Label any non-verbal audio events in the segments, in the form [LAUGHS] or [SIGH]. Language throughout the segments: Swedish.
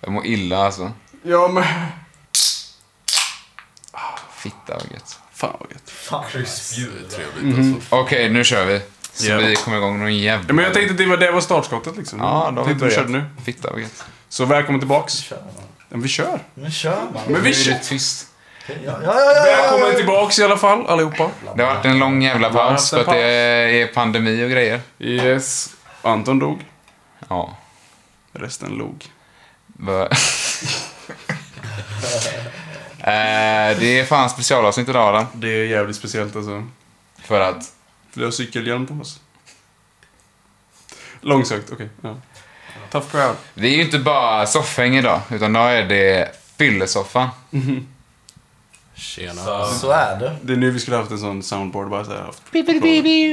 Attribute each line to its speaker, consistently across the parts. Speaker 1: Jag mår illa alltså.
Speaker 2: Ja, men...
Speaker 1: Fitta vad gött.
Speaker 2: Fan vad gött.
Speaker 3: Fan.
Speaker 4: Kryssbjud är trevligt alltså.
Speaker 1: Okej, nu kör vi. Så
Speaker 2: Ja.
Speaker 1: vi kommer igång någon jävla...
Speaker 2: Ja, men jag tänkte att det var, det var startskottet liksom.
Speaker 1: Ja, då har vi
Speaker 2: Tänkte vi
Speaker 1: börjat.
Speaker 2: körde nu.
Speaker 1: Fitta vad gött.
Speaker 2: Så välkommen tillbaks.
Speaker 3: Kör man.
Speaker 2: Ja, vi kör.
Speaker 3: Nu kör man.
Speaker 2: Men
Speaker 1: Nu
Speaker 2: vi
Speaker 1: är
Speaker 2: kör.
Speaker 1: det tyst.
Speaker 3: Ja, ja, ja, ja, ja.
Speaker 2: Välkommen tillbaks i alla fall allihopa.
Speaker 1: Det har varit en lång jävla
Speaker 2: Vi har
Speaker 1: paus
Speaker 2: haft
Speaker 1: för
Speaker 2: en
Speaker 1: att det är pandemi och grejer.
Speaker 2: Yes. Anton dog.
Speaker 1: Ja.
Speaker 2: Resten log.
Speaker 1: Va- [LAUGHS] Eh, det är fan specialavsnitt idag Adam.
Speaker 2: Det är jävligt speciellt alltså.
Speaker 1: För att...
Speaker 2: För vi har cykelhjälm på oss. Långsökt, okej. Ja. Tough crowd.
Speaker 1: Det är ju inte bara soffhäng idag, utan då är det fyllesoffan.
Speaker 4: Tjena.
Speaker 3: Så är det.
Speaker 2: Det är nu vi skulle haft en sån soundboard bara såhär.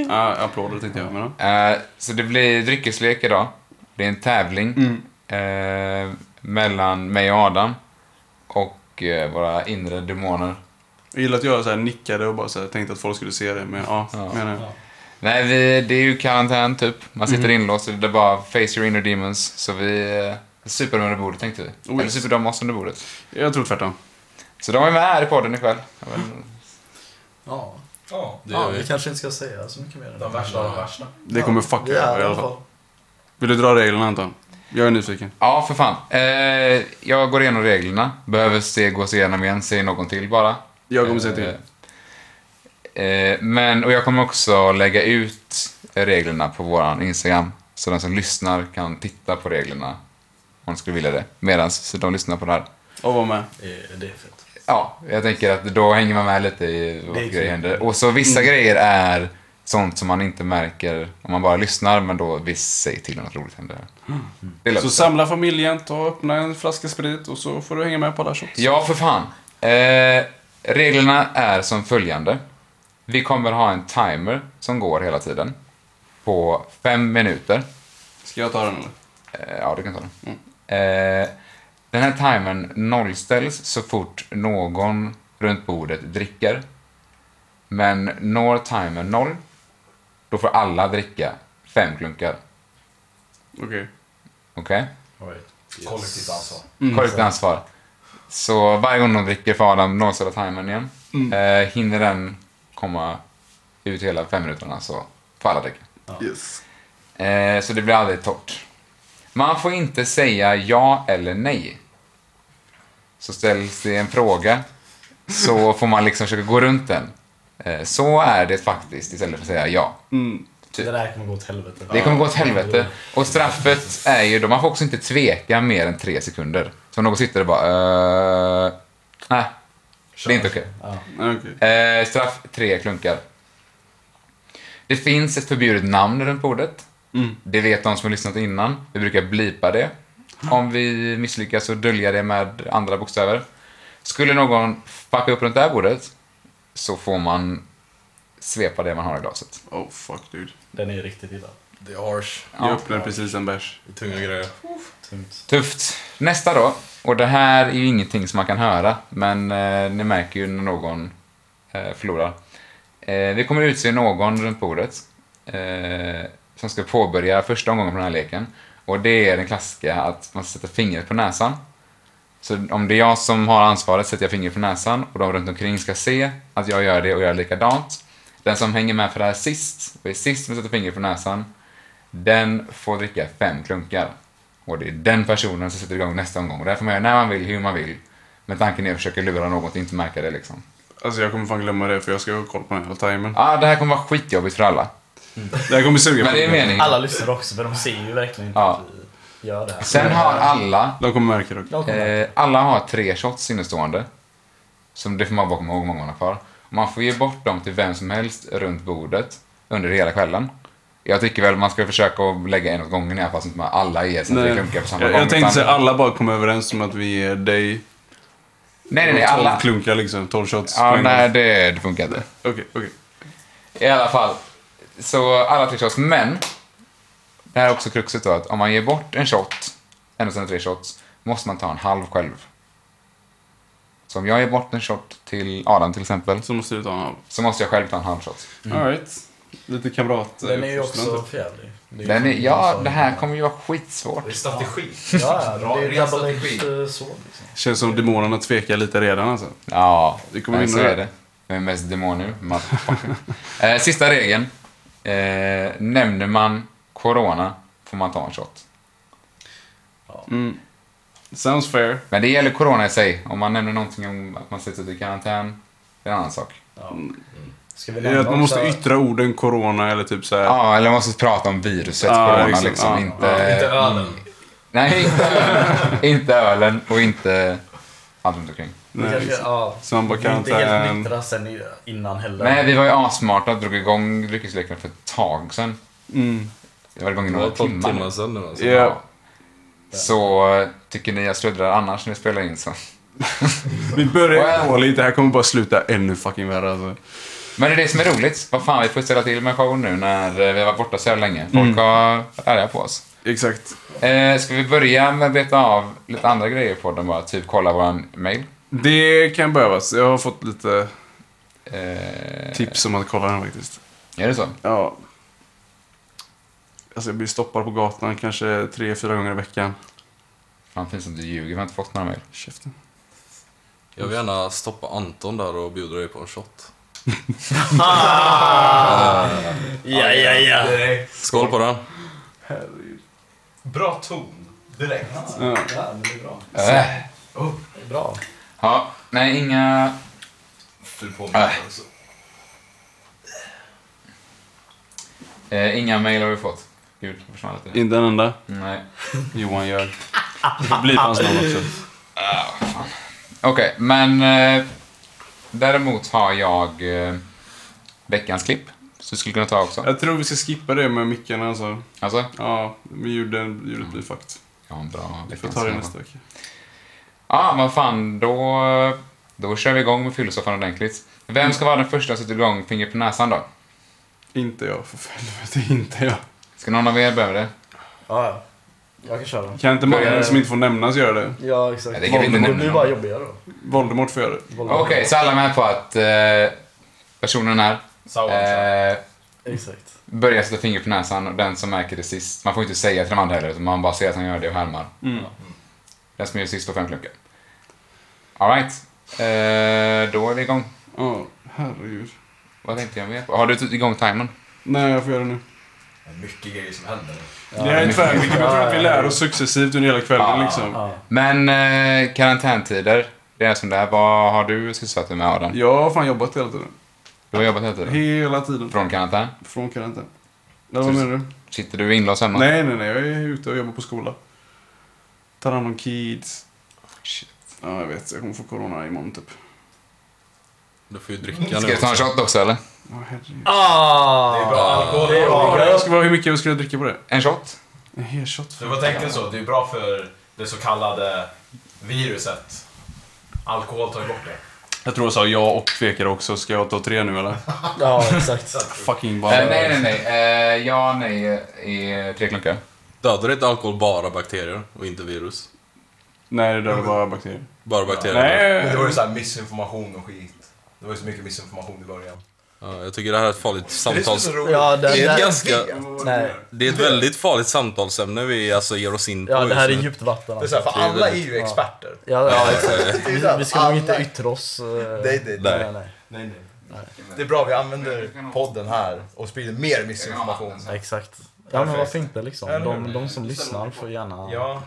Speaker 2: Ja, applåder tänkte jag. Men, ja.
Speaker 1: Eh, så det blir dryckeslek idag. Det är en tävling eh, mellan mig och Adam. Och eh, våra inre demoner.
Speaker 2: Jag gillar att jag så här nickade och bara så här, tänkte att folk skulle se det. Men ja,
Speaker 1: Ja.
Speaker 2: menar jag.
Speaker 1: Nej, vi, det är ju karantän typ. Man sitter inlåst och det är bara face your inner demons. Så vi eh, super dem under bordet tänkte vi.
Speaker 2: Oh,
Speaker 1: Eller
Speaker 2: yes.
Speaker 1: super de oss under bordet.
Speaker 2: Jag tror tvärtom.
Speaker 1: Så de är med här i podden ikväll. Jag vet inte.
Speaker 3: Ja.
Speaker 4: Ja, det
Speaker 3: ja,
Speaker 4: gör
Speaker 3: vi
Speaker 4: vi.
Speaker 3: kanske inte ska säga så mycket mer.
Speaker 5: De värsta av de värsta.
Speaker 2: Det kommer fucka
Speaker 3: det är
Speaker 2: upp i alla fall. Vill du dra reglerna Anton? Jag är nyfiken.
Speaker 1: Ja, för fan. Eh, jag går igenom reglerna. Behöver se, gås igenom igen, säg någon till bara.
Speaker 2: Jag kommer säga till.
Speaker 1: Eh, eh, men, och jag kommer också lägga ut reglerna på vår Instagram. Så den som lyssnar kan titta på reglerna om de skulle vilja det. Medan de lyssnar på det här.
Speaker 2: Och var med.
Speaker 3: Det, det är fett.
Speaker 1: Ja, jag tänker att då hänger man med lite i vad
Speaker 3: Det är kul. Mm.
Speaker 1: grejer händer. Och så vissa grejer är sånt som man inte märker om man bara lyssnar, men då visst säg till om något roligt händer.
Speaker 3: Mm.
Speaker 1: Det löser
Speaker 2: Så
Speaker 1: sig.
Speaker 2: samla familjen, ta och öppna en flaska sprit och så får du hänga med på alla shots.
Speaker 1: Ja, för fan. Eh, reglerna är som följande. Vi kommer ha en timer som går hela tiden. På fem minuter.
Speaker 2: Ska jag ta den eller?
Speaker 1: Eh, ja, du kan ta den. Eh, den här timern nollställs så fort någon runt bordet dricker. Men når timern noll, då får alla dricka fem klunkar.
Speaker 2: Okej.
Speaker 1: Okej?
Speaker 3: Right.
Speaker 5: Kollektivt ansvar.
Speaker 2: Mm.
Speaker 1: Kollektivt ansvar. Så varje gång de dricker får Adam nollställa timern igen. Eh, hinner den komma ut hela fem minuterna så får alla dricka.
Speaker 2: Yes.
Speaker 1: Eh, så det blir aldrig torrt. Man får inte säga ja eller nej. Så ställs det en fråga så får man liksom försöka gå runt den. Eh, så är det faktiskt istället för att säga ja.
Speaker 2: Mm.
Speaker 3: Det där kommer gå åt helvete.
Speaker 1: Det kommer gå åt helvete. Och straffet är ju då, man får också inte tveka mer än tre sekunder. Så om någon sitter och bara eh, Nej, det är inte okej.
Speaker 2: Ah, Okej.
Speaker 1: Eh, straff tre klunkar. Det finns ett förbjudet namn runt bordet. Det vet de som har lyssnat innan. Vi brukar blipa det. Om vi misslyckas och dölja det med andra bokstäver. Skulle någon fucka upp runt det här bordet så får man svepa det man har i glaset.
Speaker 2: Oh fuck dude.
Speaker 3: Den är riktigt illa.
Speaker 4: Det är harsh.
Speaker 2: Jag öppnade precis en bärs.
Speaker 4: Det är tunga grejer.
Speaker 3: Tungt.
Speaker 1: Tufft. Nästa då. Och det här är ju ingenting som man kan höra, men eh, ni märker ju när någon eh, förlorar. Eh, vi kommer utse någon runt bordet eh, som ska påbörja första omgången på den här leken. Och det är den klassiska att man sätter fingret på näsan. Så om det är jag som har ansvaret sätter jag fingret på näsan och de runt omkring ska se att jag gör det och gör likadant. Den som hänger med för det här sist och är sist som sätter fingret på näsan, den får dricka fem klunkar. Och det är den personen som sätter igång nästa omgång. Och där får man göra när man vill, hur man vill. Men tanken är att försöka lura någon att inte märka det liksom.
Speaker 2: Alltså jag kommer fan glömma det för jag ska ha koll på den hela timern.
Speaker 1: Ja, ah, det här kommer vara skitjobbigt för alla.
Speaker 2: Det här kommer suga
Speaker 1: Men det är
Speaker 2: på mig.
Speaker 1: meningen.
Speaker 3: Alla lyssnar också för de ser ju verkligen inte
Speaker 1: Ja.
Speaker 3: att vi gör det här.
Speaker 1: Sen har alla
Speaker 2: De kommer märka det.
Speaker 3: De kommer-
Speaker 1: Eh, alla har tre shots innestående. Som det får man bara komma ihåg hur många man har kvar. Man får ge bort dem till vem som helst runt bordet under hela kvällen. Jag tycker väl man ska försöka att lägga en åt gången i E alla fall så att man alla ger sina tre
Speaker 2: Nej.
Speaker 1: klunkar på samma
Speaker 2: Jag,
Speaker 1: gång.
Speaker 2: jag tänkte
Speaker 1: utan-
Speaker 2: säga alla bara kom överens om att vi ger dig
Speaker 1: Nej, nej, nej,
Speaker 2: 12
Speaker 1: alla.
Speaker 2: klunkar liksom. 12 shots. på
Speaker 1: Ja,
Speaker 2: en
Speaker 1: nej,
Speaker 2: gång.
Speaker 1: det, det funkar inte.
Speaker 2: Okej, okej.
Speaker 1: I alla fall. Så alla tre shots. Men. Det här är också kruxet då. Att om man ger bort en shot. En av sina tre shots. Måste man ta en halv själv. Så om jag ger bort en shot till Adam till exempel.
Speaker 2: Så måste du ta en halv.
Speaker 1: Så måste jag själv ta en halv shot.
Speaker 2: Alright. Lite kamrat...
Speaker 3: Den är ju också
Speaker 2: uppfostran, typ.
Speaker 3: förjävlig. Det är ju
Speaker 1: Den är,
Speaker 3: som-
Speaker 1: ja,
Speaker 3: som-
Speaker 1: det här kommer ju vara skitsvårt.
Speaker 5: Det är strategi.
Speaker 3: Ja, ja, det
Speaker 5: Ren
Speaker 3: är double
Speaker 5: strategi.
Speaker 3: edged sword. Liksom.
Speaker 2: Känns som demonerna tvekar lite redan alltså.
Speaker 1: Ja,
Speaker 2: Vi kommer
Speaker 1: men
Speaker 2: vinna
Speaker 1: så
Speaker 2: det.
Speaker 1: är det. Vem är mest demon nu? Motherfucker. eh, sista regeln. Eh, nämner man corona får man ta en shot.
Speaker 2: Mm. Sounds fair.
Speaker 1: Men det gäller corona i sig. Om man nämner någonting om att man sätts ut i karantän, det är en annan sak.
Speaker 3: Ja. Ska vi
Speaker 2: Det är
Speaker 3: nämna
Speaker 2: att man måste
Speaker 3: också-
Speaker 2: yttra orden corona eller typ så här.
Speaker 1: Ja, eller man måste prata om viruset
Speaker 2: Ja,
Speaker 1: corona
Speaker 2: liksom.
Speaker 1: liksom.
Speaker 2: Ja,
Speaker 1: inte,
Speaker 4: Inte ölen.
Speaker 3: Mm.
Speaker 1: Nej, inte, ölen. inte ölen och inte allt runt omkring.
Speaker 3: Vi
Speaker 2: Nej,
Speaker 3: kanske-
Speaker 2: liksom.
Speaker 3: ja,
Speaker 2: Så man bara
Speaker 3: vi är inte helt
Speaker 2: karantän.
Speaker 3: nyktra sen i- innan heller.
Speaker 1: Nej, vi var ju assmarta och drog igång dryckesleken för ett tag sedan.
Speaker 2: Mm.
Speaker 1: Det var igång i
Speaker 4: Det
Speaker 1: några
Speaker 4: var tolv
Speaker 1: timmar.
Speaker 4: timmar sedan nu alltså.
Speaker 2: Ja.
Speaker 1: Så eh, tycker ni jag sluddrar annars när vi spelar in så.
Speaker 2: Vi börjar
Speaker 1: Well.
Speaker 2: dåligt, det här kommer bara sluta ännu fucking värre alltså.
Speaker 1: Men det är det som är roligt. Vad fan, vi får ställa till med show nu när eh, vi har varit borta så jävla länge. Folk har varit arga på oss.
Speaker 2: Exakt.
Speaker 1: Eh, ska vi börja med att beta av lite andra grejer på den bara? Typ kolla våran mail.
Speaker 2: Det kan behövas. Jag har fått lite
Speaker 1: Eh,
Speaker 2: tips om att kolla den faktiskt.
Speaker 1: Är det så?
Speaker 2: Ja. Alltså jag blir stoppad på gatan kanske tre, fyra gånger i veckan.
Speaker 1: Fan, finns det inte ljuger. Vi har inte fått några mail.
Speaker 2: Käften.
Speaker 4: Jag vill gärna stoppa Anton där och bjuda dig på en shot.
Speaker 3: Ja, ja, ja.
Speaker 5: Direkt.
Speaker 4: Skål på den.
Speaker 5: Bra ton. Direkt.
Speaker 2: Ja.
Speaker 3: Ja, men det är bra.
Speaker 1: Eh,
Speaker 3: Bra.
Speaker 1: Ja, nej, inga...
Speaker 5: Fyll på med
Speaker 1: Äh.
Speaker 5: alltså.
Speaker 1: Eh, inga mail har vi fått. Gud, jag försvann lite.
Speaker 2: Inte en enda.
Speaker 1: Nej.
Speaker 2: Johan gör. Det blir hans namn också.
Speaker 1: Okej, men eh, däremot har jag eh, veckans klipp. Så du skulle kunna ta också.
Speaker 2: Jag tror vi ska skippa det med mickarna alltså.
Speaker 1: Alltså,
Speaker 2: Ja, med ljuden, ljudet blir fucked.
Speaker 1: jag har en bra
Speaker 2: Vi får
Speaker 1: veckans
Speaker 2: ta det
Speaker 1: klipp.
Speaker 2: nästa vecka.
Speaker 1: Ja, vad fan, då, då kör vi igång med fyllesoffan ordentligt. Vem ska vara den första som sätter igång fingret på näsan då?
Speaker 2: Inte jag, för helvete. [LAUGHS] Inte jag.
Speaker 1: Ska någon av er börja med det?
Speaker 3: Ja, ja. jag kan köra.
Speaker 2: Kan inte mannen som inte får nämnas göra det?
Speaker 3: Ja, exakt.
Speaker 1: Ja, det kan vi inte
Speaker 3: Voldemort
Speaker 1: nämna
Speaker 3: blir
Speaker 1: någon.
Speaker 3: bara jobbigare då.
Speaker 2: Voldemort får göra det.
Speaker 1: Okej,
Speaker 3: Voldemort.
Speaker 1: så alla är med på att eh, personen här
Speaker 5: Sauron.
Speaker 1: eh,
Speaker 3: Exakt.
Speaker 1: börjar sätta fingret på näsan och den som märker det sist, man får inte säga till de andra heller, utan man bara ser att han gör det och härmar.
Speaker 2: Mm.
Speaker 1: Den som gör sist får fem klunkar. Alright, eh, då är vi igång.
Speaker 2: Ja, herregud.
Speaker 1: Vad tänkte jag mer på? Har du tagit igång timern?
Speaker 2: Nej, jag får göra det nu.
Speaker 5: Mycket grejer som händer.
Speaker 2: det här är tvärmycket, men jag tror att vi lär oss successivt under hela kvällen
Speaker 1: Ja.
Speaker 2: liksom.
Speaker 3: Ja.
Speaker 1: Men eh, karantäntider, det är som det är. Vad har du sysselsatt dig med Adam?
Speaker 2: Jag har fan jobbat hela tiden.
Speaker 1: Du har jobbat hela tiden?
Speaker 2: Hela tiden.
Speaker 1: Från karantän?
Speaker 2: Från karantän. Ja, vad
Speaker 1: Så-
Speaker 2: menar du?
Speaker 1: Sitter du inlåst hemma?
Speaker 2: Nej, nej, nej. Jag är ute och jobbar på skola. Tar hand om kids.
Speaker 1: Shit.
Speaker 2: Ja, jag vet. Jag kommer få corona imorgon typ.
Speaker 4: Du får ju dricka
Speaker 1: Ska
Speaker 4: nu
Speaker 1: jag ta en
Speaker 4: också.
Speaker 1: shot också eller?
Speaker 2: Ja, herregud.
Speaker 3: Ah!
Speaker 5: Det är bra alkohol.
Speaker 3: Det är bra.
Speaker 2: Ja, Jag ska vara hur mycket jag skulle dricka på det.
Speaker 1: En shot?
Speaker 2: En hel shot.
Speaker 5: Du får tänka så, det är bra för det så kallade viruset. Alkohol tar ju bort det.
Speaker 2: Jag tror jag sa ja och tvekade också. Ska jag ta tre nu eller?
Speaker 3: Ja, exakt.
Speaker 2: Fucking bara.
Speaker 1: Eh, nej, nej, nej. Eh, ja, nej eh, är tre klunkar.
Speaker 4: Dödar inte alkohol bara bakterier och inte virus?
Speaker 2: Nej, det där var bara bakterier.
Speaker 4: Bara bakterier?
Speaker 5: Men det var
Speaker 2: Nej.
Speaker 5: ju såhär missinformation och skit. Det var ju så mycket missinformation i början.
Speaker 4: Ja, jag tycker det här är ett farligt samtals...
Speaker 5: roligt.
Speaker 3: Ja, det,
Speaker 4: Det är ett
Speaker 3: det,
Speaker 4: ganska...
Speaker 3: nej.
Speaker 4: Det är ett väldigt farligt samtalsämne vi alltså ger oss in på
Speaker 3: Ja, det här är
Speaker 4: just nu.
Speaker 3: djupt vatten
Speaker 5: Det är
Speaker 3: alltså.
Speaker 5: såhär, för alla är ju experter.
Speaker 3: Ja, ja, exakt.
Speaker 5: Det är
Speaker 3: Vi,
Speaker 5: såhär,
Speaker 3: vi ska nog
Speaker 5: alla-
Speaker 3: inte yttra oss. eh,
Speaker 5: Nej, nej,
Speaker 4: nej.
Speaker 3: Ah, nej, nej.
Speaker 5: Nej, nej. Det är bra, vi använder podden här och sprider mer missinformation.
Speaker 3: Exakt. Ja, men
Speaker 5: Perfekt.
Speaker 3: varför inte liksom?
Speaker 5: Eller
Speaker 3: De,
Speaker 5: hur?
Speaker 3: de som lyssnar får gärna
Speaker 5: Ja,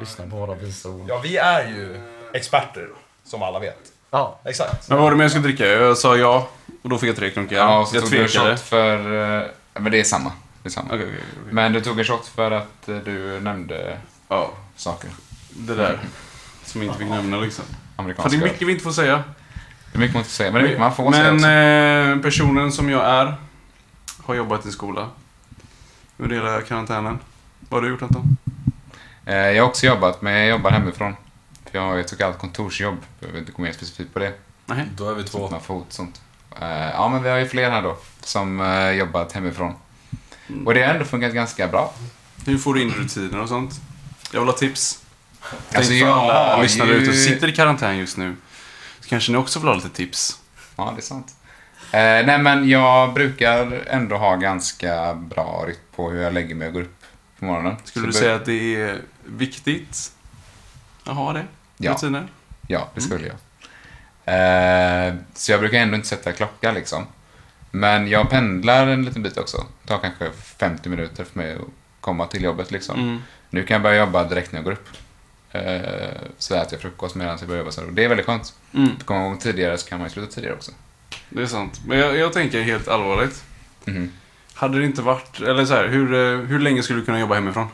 Speaker 3: lyssna på våra visa ord.
Speaker 5: ja, vi är ju experter, som alla vet.
Speaker 3: Ja.
Speaker 5: Exakt.
Speaker 2: Men vad var det mer jag skulle dricka? Jag sa ja och då fick jag tre klunkar.
Speaker 1: Ja, och så
Speaker 2: jag
Speaker 1: tog du en
Speaker 2: tvekade.
Speaker 1: shot för... Eh, men det är samma. Det är samma.
Speaker 2: Okej, okej, okej, okej.
Speaker 1: Men du tog en shot för att eh, du nämnde
Speaker 2: Ja,
Speaker 1: saker.
Speaker 2: det där. Som jag inte fick nämna liksom. För det
Speaker 1: Amerikanska.
Speaker 2: är mycket vi inte får säga.
Speaker 1: det är mycket man inte får säga, men det är mycket man får säga
Speaker 2: Men
Speaker 1: också.
Speaker 2: eh, personen som jag är har jobbat i skola. Under hela karantänen. Vad har du gjort Anton?
Speaker 1: Eh, jag har också jobbat, men jag jobbar hemifrån. För jag har ju ett så kallat kontorsjobb. Jag behöver inte gå mer specifikt på det.
Speaker 2: Nej.
Speaker 4: Då är vi
Speaker 1: Så att
Speaker 4: två.
Speaker 1: man får åt sånt. Eh, Ja, men vi har ju fler här då som eh, jobbat hemifrån.
Speaker 2: Mm.
Speaker 1: Och det har ändå funkat ganska bra.
Speaker 2: Hur får du in rutiner och sånt? Jag vill ha tips. Tänk
Speaker 1: Alltså,
Speaker 2: för
Speaker 1: jag
Speaker 2: alla
Speaker 1: har
Speaker 2: lyssnare
Speaker 1: ju-
Speaker 2: ute och sitter i karantän just nu. Så kanske ni också vill ha lite tips.
Speaker 1: Ja, det är sant. Eh, nej, men jag brukar ändå ha ganska bra rytm på hur jag lägger mig och går upp på morgonen.
Speaker 2: Skulle
Speaker 1: Så
Speaker 2: du
Speaker 1: bör-
Speaker 2: säga att det är viktigt att ha det?
Speaker 1: Ja.
Speaker 2: Rutiner?
Speaker 1: Ja,
Speaker 2: Mm.
Speaker 1: det skulle jag. Eh, så jag brukar ändå inte sätta klocka liksom. Men jag pendlar en liten bit också. Det tar kanske 50 minuter för mig att komma till jobbet liksom.
Speaker 2: Mm.
Speaker 1: Nu kan jag börja jobba direkt när jag går upp. Eh, så äter jag frukost medan jag börjar jobba. sen. Och Det är väldigt skönt.
Speaker 2: Mm.
Speaker 1: Kommer man igång tidigare så kan man ju sluta tidigare också.
Speaker 2: Det är sant. Men jag, jag tänker helt allvarligt. Mm.
Speaker 1: Mhm.
Speaker 2: Hade det inte varit, eller så här, hur, eh, hur länge skulle du kunna jobba hemifrån?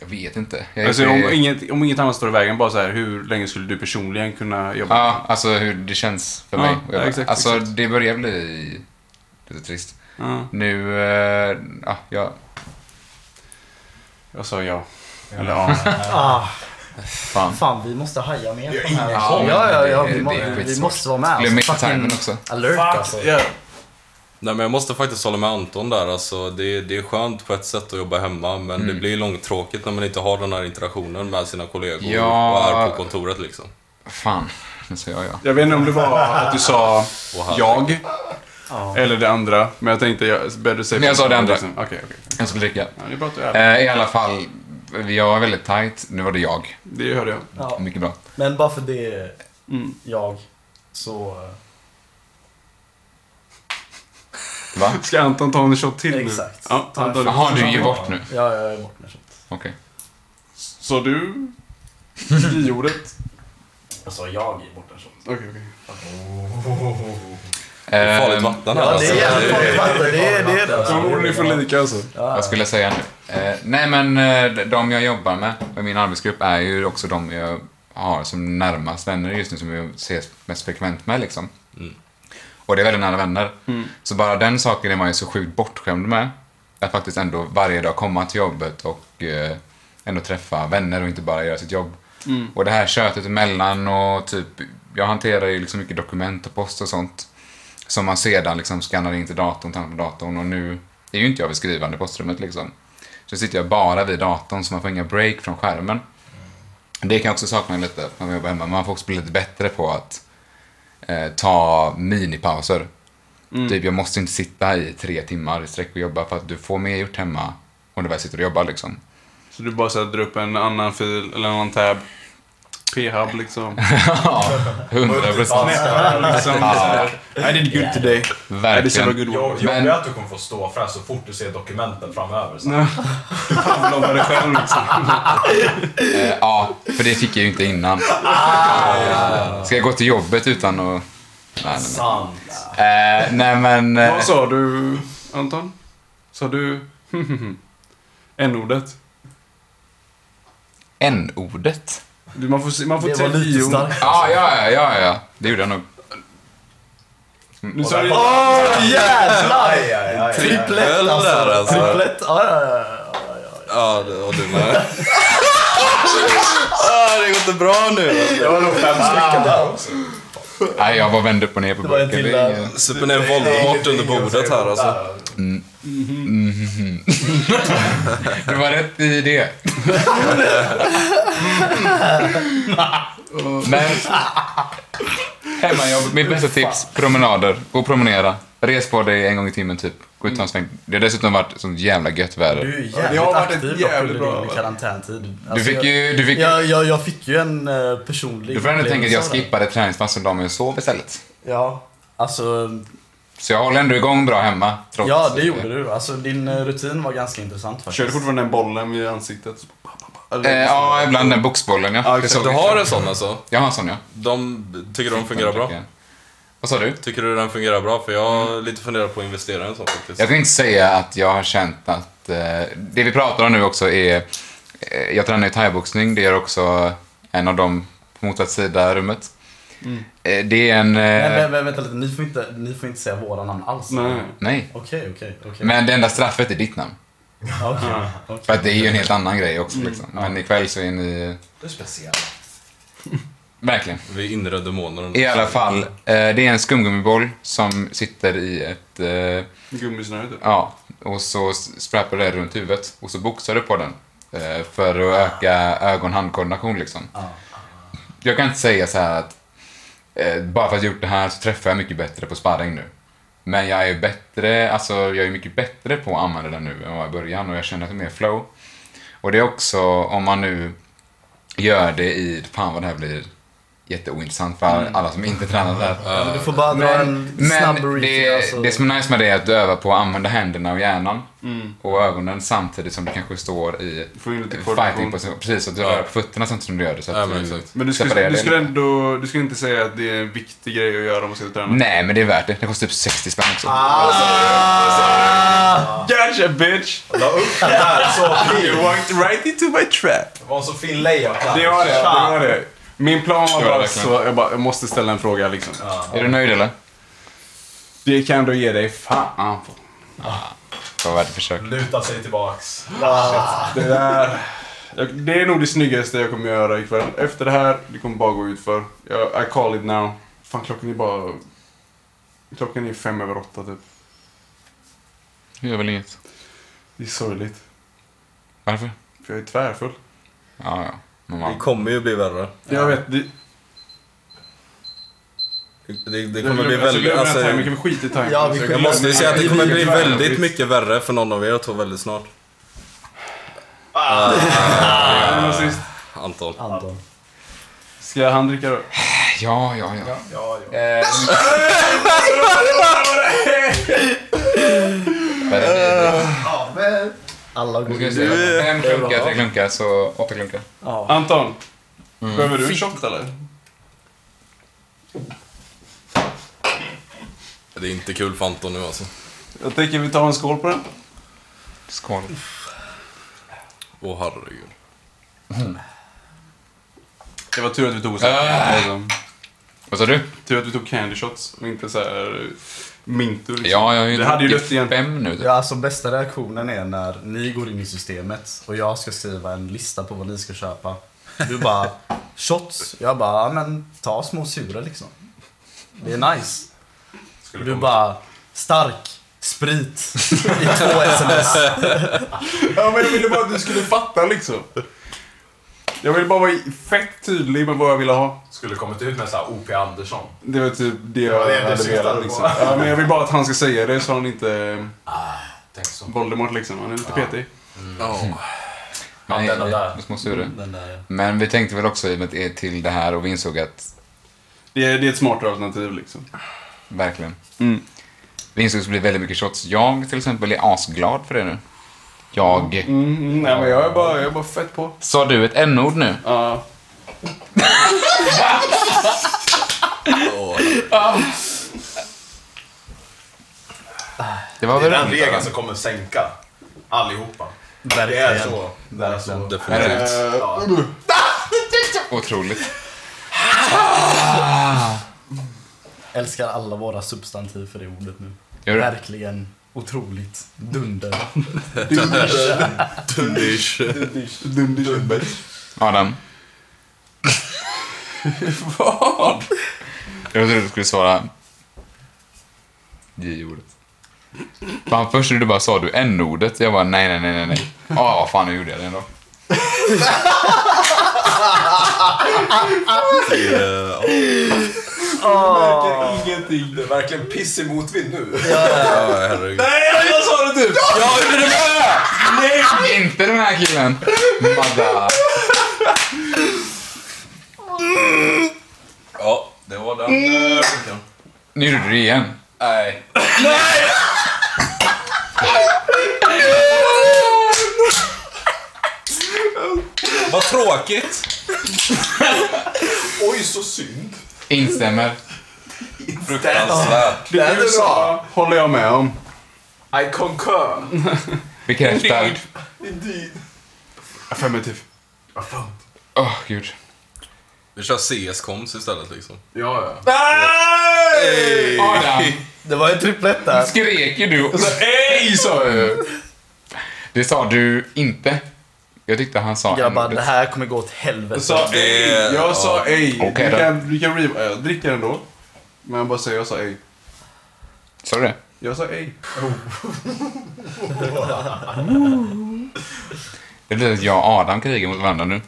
Speaker 1: Jag vet inte. Jag är
Speaker 2: alltså,
Speaker 1: inte-
Speaker 2: om, inget, om inget annat står i vägen, bara så här, hur länge skulle du personligen kunna jobba?
Speaker 1: Ja, alltså hur det känns för
Speaker 2: Ja,
Speaker 1: mig. Och jag-
Speaker 2: ja, exakt,
Speaker 1: alltså
Speaker 2: exakt.
Speaker 1: det börjar bli lite trist.
Speaker 2: Ja,
Speaker 1: Nu, eh, ja, jag,
Speaker 2: jag sa ja.
Speaker 5: Ja.
Speaker 2: Eller ja.
Speaker 3: Ah,
Speaker 1: fan.
Speaker 3: fan, vi måste haja mer
Speaker 5: Vi har
Speaker 3: på den här.
Speaker 5: ingen
Speaker 3: Ja,
Speaker 5: koll.
Speaker 3: ja, ja.
Speaker 1: Det
Speaker 3: Vi,
Speaker 1: är-
Speaker 3: må,
Speaker 1: det är
Speaker 3: vi
Speaker 1: skitsvårt.
Speaker 3: måste vara med.
Speaker 1: Glöm
Speaker 3: alltså.
Speaker 1: inte
Speaker 3: Fucking
Speaker 1: timern också.
Speaker 3: Alert
Speaker 5: Fuck.
Speaker 3: alltså.
Speaker 2: Ja.
Speaker 4: Nej men jag måste faktiskt hålla med Anton där alltså. Det, det är skönt på ett sätt att jobba hemma men det blir långtråkigt när man inte har den här interaktionen med sina kollegor
Speaker 1: Ja.
Speaker 4: och är på kontoret liksom.
Speaker 1: Fan, nu säger jag ja.
Speaker 2: Jag vet inte om det var att du sa
Speaker 4: Och här-
Speaker 2: jag eller det andra, men jag tänkte jag bättre säga
Speaker 1: Nej, jag sa det andra.
Speaker 2: Liksom. Okej, okej.
Speaker 1: Jag skulle dricka.
Speaker 2: Ja, det är bra att du är ärlig.
Speaker 1: Eh, I alla fall, jag är väldigt tight. Nu var det jag.
Speaker 2: Det hörde jag.
Speaker 3: Ja.
Speaker 1: Mycket bra.
Speaker 3: Men bara för det
Speaker 2: Mm.
Speaker 3: jag så... eh,
Speaker 1: Va?
Speaker 2: Ska Anton ta en shot till
Speaker 3: Exakt.
Speaker 2: nu? Ja,
Speaker 3: Ta
Speaker 2: han
Speaker 3: en
Speaker 2: tar det.
Speaker 1: Jaha, du ger bort nu.
Speaker 3: Ja, jag är bort med kött.
Speaker 1: Okej.
Speaker 2: Så du... [LAUGHS] J-ordet.
Speaker 3: Jag sa Alltså, jag är bort med kött.
Speaker 2: Okej, okej.
Speaker 4: Det är farligt
Speaker 1: Ehm,
Speaker 4: vatten här
Speaker 3: Ja,
Speaker 4: alltså.
Speaker 3: det är jävligt farligt
Speaker 4: Det
Speaker 3: vatten. Det är det. är det, alltså.
Speaker 2: De borde ni få lika alltså.
Speaker 3: Ja,
Speaker 1: Vad skulle jag säga nu? Eh, nej, men eh, de jag jobbar med i min arbetsgrupp är ju också de jag har som närmast vänner just nu, som jag ses mest frekvent med liksom. Och det är väldigt nära vänner.
Speaker 2: Mm,
Speaker 1: Så bara den saken är man ju så sjukt bortskämd med. Att faktiskt ändå varje dag komma till jobbet och eh, ändå träffa vänner och inte bara göra sitt jobb.
Speaker 2: mm,
Speaker 1: Och det här köttet emellan och typ, jag hanterar ju liksom mycket dokument och post och sånt. Som man sedan liksom skannar in till datorn, tar hand om datorn och nu är ju inte jag vid skrivande postrummet liksom. Så sitter jag bara vid datorn så man får inga break från skärmen. Det kan jag också sakna lite när man jobbar hemma. Man får också bli lite bättre på att eh, ta minipauser.
Speaker 2: mm.
Speaker 1: Typ, jag måste inte sitta i tre timmar i sträck och jobba för att du får mer gjort hemma om du väl sitter och jobbar liksom. [LAUGHS]
Speaker 2: Så du bara så här, drar upp en annan fil eller en annan tab. P-hub
Speaker 3: [LAUGHS]
Speaker 2: liksom.
Speaker 1: Ja, hundra procent.
Speaker 2: liksom I did good today. I did some
Speaker 1: Verkligen.
Speaker 2: good
Speaker 5: Jag
Speaker 2: work.
Speaker 5: jag
Speaker 1: Men-
Speaker 5: vet att du kommer få stå för så fort du ser dokumenten framöver.
Speaker 2: [LAUGHS]
Speaker 5: Så.
Speaker 2: Nej. Du pavlovar dig själv liksom.
Speaker 1: Eh, Ja, för det fick jag ju inte innan. Ska jag gå till jobbet utan att... Nej, nej,
Speaker 5: Sant.
Speaker 1: nej. Eh, nej men... eh,
Speaker 2: Vad sa du Anton? Sa du [LAUGHS] n-ordet?
Speaker 1: N-ordet?
Speaker 2: Du, Man får, se- man får
Speaker 3: det var lite
Speaker 2: tio-
Speaker 3: starkt.
Speaker 1: Ja, ja, ja, ja, ja. Det gjorde jag nog.
Speaker 2: Nu sa du
Speaker 3: Åh jävlar!
Speaker 5: Aj, aj, aj, aj.
Speaker 3: Triplett
Speaker 4: Eller där,
Speaker 3: alltså.
Speaker 4: alltså.
Speaker 3: Triplett. Ja, ja, ja, ja, ja.
Speaker 4: Ja, det- och du med. [LAUGHS] ah, det går inte bra nu. alltså.
Speaker 5: Det var nog fem stycken där också.
Speaker 1: Nej, jag bara vände upp och ner på
Speaker 3: Det var en
Speaker 1: burken.
Speaker 3: till
Speaker 1: Det är
Speaker 3: där.
Speaker 1: ingen-
Speaker 4: Super ner Voldemort under bordet här alltså.
Speaker 1: Du var rätt i det. Men... Hemmajobb, mitt bästa tips. Promenader. Gå och promenera. Res på dig en gång i timmen typ. Gå ut och ta en sväng. Det har dessutom varit sånt jävla gött väder.
Speaker 3: Du är ju
Speaker 2: det
Speaker 3: jävligt
Speaker 2: har varit ett
Speaker 3: aktiv
Speaker 2: jävligt
Speaker 3: jävligt
Speaker 2: bra-
Speaker 3: dock under din karantäntid.
Speaker 1: Du
Speaker 3: Alltså,
Speaker 1: fick ju... Du fick,
Speaker 3: Jag, jag, jag fick ju en eh, personlig
Speaker 1: du får ändå tänka att jag
Speaker 3: upplevelse av det.
Speaker 1: skippade träningspass en dag men jag sov istället.
Speaker 3: Ja, alltså.
Speaker 1: Så jag håller ändå igång bra hemma. Trots
Speaker 3: Ja, det gjorde du. Alltså din eh, rutin var ganska intressant faktiskt.
Speaker 2: Kör du fortfarande den bollen i ansiktet? Eller-
Speaker 1: Eh, ja, ibland den boxbollen ja.
Speaker 2: Ja,
Speaker 1: Det
Speaker 2: exakt.
Speaker 1: såg
Speaker 4: Du
Speaker 1: jag.
Speaker 4: har en sån alltså?
Speaker 1: Jag har en sån ja.
Speaker 4: De, tycker du de fungerar bra?
Speaker 1: Vad sa du?
Speaker 4: Tycker du den fungerar bra? För jag har lite funderat på att investera i en sån faktiskt.
Speaker 1: Jag kan inte säga att jag har känt att... Eh, det vi pratar om nu också är... Eh, jag tränar ju thaiboxning, det är också en av dem på motsatt sida i rummet.
Speaker 2: Mm.
Speaker 1: Eh, det är en... Eh,
Speaker 3: Nej,
Speaker 1: nej,
Speaker 3: men, men vänta lite. Ni får inte, ni får inte säga våra namn alls.
Speaker 2: Nej.
Speaker 3: Okej, okej, okej.
Speaker 1: Men det enda straffet är ditt namn.
Speaker 3: Okej,
Speaker 1: För
Speaker 3: okej.
Speaker 1: att det är ju en helt annan grej också.
Speaker 3: Mm.
Speaker 1: Liksom. Men ikväll så är ni...
Speaker 5: Du är speciell.
Speaker 1: Verkligen.
Speaker 4: Vi är inre demoner.
Speaker 1: I alla fall, eh, det är en skumgummiboll som sitter i ett... Eh,
Speaker 2: Gummisnöre typ.
Speaker 1: Ja, och så sprappar du det runt huvudet och så boxar du på den. eh, För att öka ögon-handkoordination liksom.
Speaker 3: Ja.
Speaker 1: Jag kan inte säga så här att eh, bara för att jag gjort det här så träffar jag mycket bättre på sparring nu. Men jag är bättre, alltså jag är mycket bättre på att använda den nu än vad jag var i början och jag känner att det är mer flow. Och det är också om man nu gör det i, fan vad det här blir jätteointressant för alla som inte tränar där.
Speaker 3: Ja, men du får bara dra
Speaker 1: Men,
Speaker 3: en snabb
Speaker 1: men
Speaker 3: brief.
Speaker 1: det,
Speaker 3: alltså.
Speaker 1: det som är nice med det är att du övar på att använda händerna och hjärnan
Speaker 2: Mm.
Speaker 1: och ögonen samtidigt som du kanske står i
Speaker 2: Får in lite
Speaker 1: fighting
Speaker 2: koordination.
Speaker 1: position. Precis, att du övar på fötterna samtidigt som du gör det. Så att
Speaker 4: Ja, men
Speaker 1: du
Speaker 4: exakt.
Speaker 2: Men du skulle,
Speaker 1: separerar
Speaker 2: du
Speaker 1: det.
Speaker 2: skulle ändå, du skulle inte säga att det är en viktig grej att göra om man ska träna?
Speaker 1: Nej, men det är värt det. Det kostar typ 60 spänn också.
Speaker 2: Ah. Gotcha bitch!
Speaker 5: La upp det här [LAUGHS] så
Speaker 2: You
Speaker 5: fint.
Speaker 2: walked right into my trap!
Speaker 5: Det var en så fin layout här.
Speaker 2: Det var det, det var det. Min plan var
Speaker 1: Det var
Speaker 2: bara
Speaker 1: verkligen.
Speaker 2: så, jag, bara, jag måste ställa en fråga liksom.
Speaker 1: Är du nöjd eller?
Speaker 2: Det kan du ge dig fan på.
Speaker 1: Det var värt ett försök.
Speaker 5: Luta sig tillbaks.
Speaker 2: Det där. Jag- Det är nog det snyggaste jag kommer göra ikväll. Efter det här, det kommer bara gå ut för. Jag, I call it now. Fan klockan är bara... Klockan är fem över åtta typ.
Speaker 1: Det gör väl inget.
Speaker 2: Det är sorgligt.
Speaker 1: Varför?
Speaker 2: För jag är tvärfull.
Speaker 1: Ja, ja. Men
Speaker 4: Det
Speaker 1: man,
Speaker 4: kommer ju bli värre.
Speaker 2: Jag vet, det,
Speaker 4: Det, det
Speaker 2: jag
Speaker 4: kommer bli
Speaker 2: glömmer- alltså,
Speaker 4: väldigt...
Speaker 2: glömmer
Speaker 4: Alltså,
Speaker 2: den timern, kan vi skita i timern?
Speaker 3: Ja, vi
Speaker 4: jag
Speaker 3: skiter-
Speaker 4: måste ju säga att det kommer bli väldigt mycket värre för någon av er två väldigt snart.
Speaker 2: Sist.
Speaker 4: Anton.
Speaker 3: Anton.
Speaker 2: Ska han dricka då?
Speaker 1: ja, ja, ja.
Speaker 5: Ja, ja.
Speaker 1: Eh,
Speaker 5: ja men...
Speaker 3: Alla går
Speaker 1: nu ska vi
Speaker 3: in.
Speaker 1: se. Fem klunkar, tre klunkar, så åtta klunkar.
Speaker 3: Ja.
Speaker 2: Anton.
Speaker 4: Mm.
Speaker 2: Behöver du en shot eller?
Speaker 4: Det är inte kul för Anton nu alltså.
Speaker 2: Jag tänker vi tar en skål på den.
Speaker 1: Skål.
Speaker 4: Åh herregud.
Speaker 2: Det var tur att vi tog så här, liksom.
Speaker 1: Vad sa du?
Speaker 2: Tur att vi tog candy shots och inte så här mintor. Liksom.
Speaker 1: Ja, jag har ju
Speaker 2: Det hade ju
Speaker 1: druckit
Speaker 2: dött igen.
Speaker 1: fem nu. typ.
Speaker 3: Ja, alltså bästa reaktionen är när ni går in i systemet och jag ska skriva en lista på vad ni ska köpa. Du bara, shots. Jag bara, "Ja, men ta små sura liksom. Det är nice. Du bara, stark, sprit i två sms.
Speaker 2: Ja, men jag ville bara att du skulle fatta liksom. Jag ville bara vara fett tydlig med vad jag ville ha.
Speaker 5: Skulle kommit ut med så här O.P. Andersson.
Speaker 2: Det var typ det jag
Speaker 5: Ja, det är det
Speaker 2: hade
Speaker 5: sista
Speaker 2: velat
Speaker 5: du
Speaker 2: liksom.
Speaker 5: var.
Speaker 2: Ja, men jag vill bara att han ska säga det så han inte... eh,
Speaker 5: Tänk så.
Speaker 2: Voldemort liksom, han är lite petig.
Speaker 1: Men,
Speaker 5: Ja, den där.
Speaker 1: eh, små suror.
Speaker 3: Den där,
Speaker 1: Men vi tänkte väl också i och med att det är till det här och vi insåg att
Speaker 2: Det är, det är ett smartare alternativ liksom.
Speaker 1: Verkligen.
Speaker 5: Mm.
Speaker 1: Vi insåg att det skulle bli väldigt mycket shots. Jag till exempel är asglad för det nu. Jag.
Speaker 2: Mm, mm, nej men jag är bara, jag är bara fett på.
Speaker 1: Sa du ett n-ord nu?
Speaker 2: Ja.
Speaker 4: Åh,
Speaker 1: Det var
Speaker 5: Det är
Speaker 1: väl
Speaker 5: den
Speaker 1: roligt,
Speaker 5: regeln
Speaker 1: eller?
Speaker 5: som kommer sänka allihopa.
Speaker 3: ja.
Speaker 5: Det är så.
Speaker 3: Det är så.
Speaker 4: definitivt.
Speaker 5: Ja.
Speaker 1: Otroligt.
Speaker 3: Älskar alla våra substantiv för det ordet nu.
Speaker 1: Gör du?
Speaker 3: Verkligen otroligt. Dunder.
Speaker 4: Tundish.
Speaker 2: Dundish är bäst.
Speaker 3: [LAUGHS]
Speaker 1: Adam.
Speaker 2: Vad?
Speaker 1: Jag trodde du skulle svara J-ordet. Fan, först när du bara sa du n-ordet, jag bara nej, nej, nej, nej, nej. Ja, fan, nu gjorde jag det ändå.
Speaker 2: Märker ingenting.
Speaker 5: Det är verkligen piss i motvind nu.
Speaker 4: Ja, herregud.
Speaker 2: Nej, jag sa det typ!
Speaker 1: Jag gjorde det med! Nej! Inte den här killen. Madda.
Speaker 4: Ja, det var den eh, punkten.
Speaker 1: Nu gjorde du det igen.
Speaker 4: Nej. Nej! Vad tråkigt.
Speaker 5: Oj, så synd.
Speaker 1: Instämmer.
Speaker 4: Fruktansvärt.
Speaker 2: Det du sa håller jag med om.
Speaker 5: I concur. Mm.
Speaker 1: Bekräftar.
Speaker 5: Indeed.
Speaker 2: Affirmativ.
Speaker 5: Vad fan.
Speaker 1: Åh, gud.
Speaker 4: Vi kör CS-koms istället liksom.
Speaker 5: Ja, ja.
Speaker 1: Adam,
Speaker 3: Det var en triplett där.
Speaker 1: skrek ju du.
Speaker 2: Ej sa jag ju!
Speaker 1: Det sa du inte. Jag tyckte han sa
Speaker 3: Grabbar,
Speaker 1: n-ordet.
Speaker 3: det här kommer gå åt
Speaker 2: Jag
Speaker 3: helvete.
Speaker 2: sa ej.
Speaker 4: Det-
Speaker 2: Jag sa ej.
Speaker 1: Okej
Speaker 2: du
Speaker 1: då.
Speaker 2: kan, du kan äh, riva. Jag dricker ändå. Men jag bara säger jag sa ej.
Speaker 1: Sa du det?
Speaker 2: Jag sa ej.
Speaker 1: Det blir att jag och Adam krigar mot varandra nu.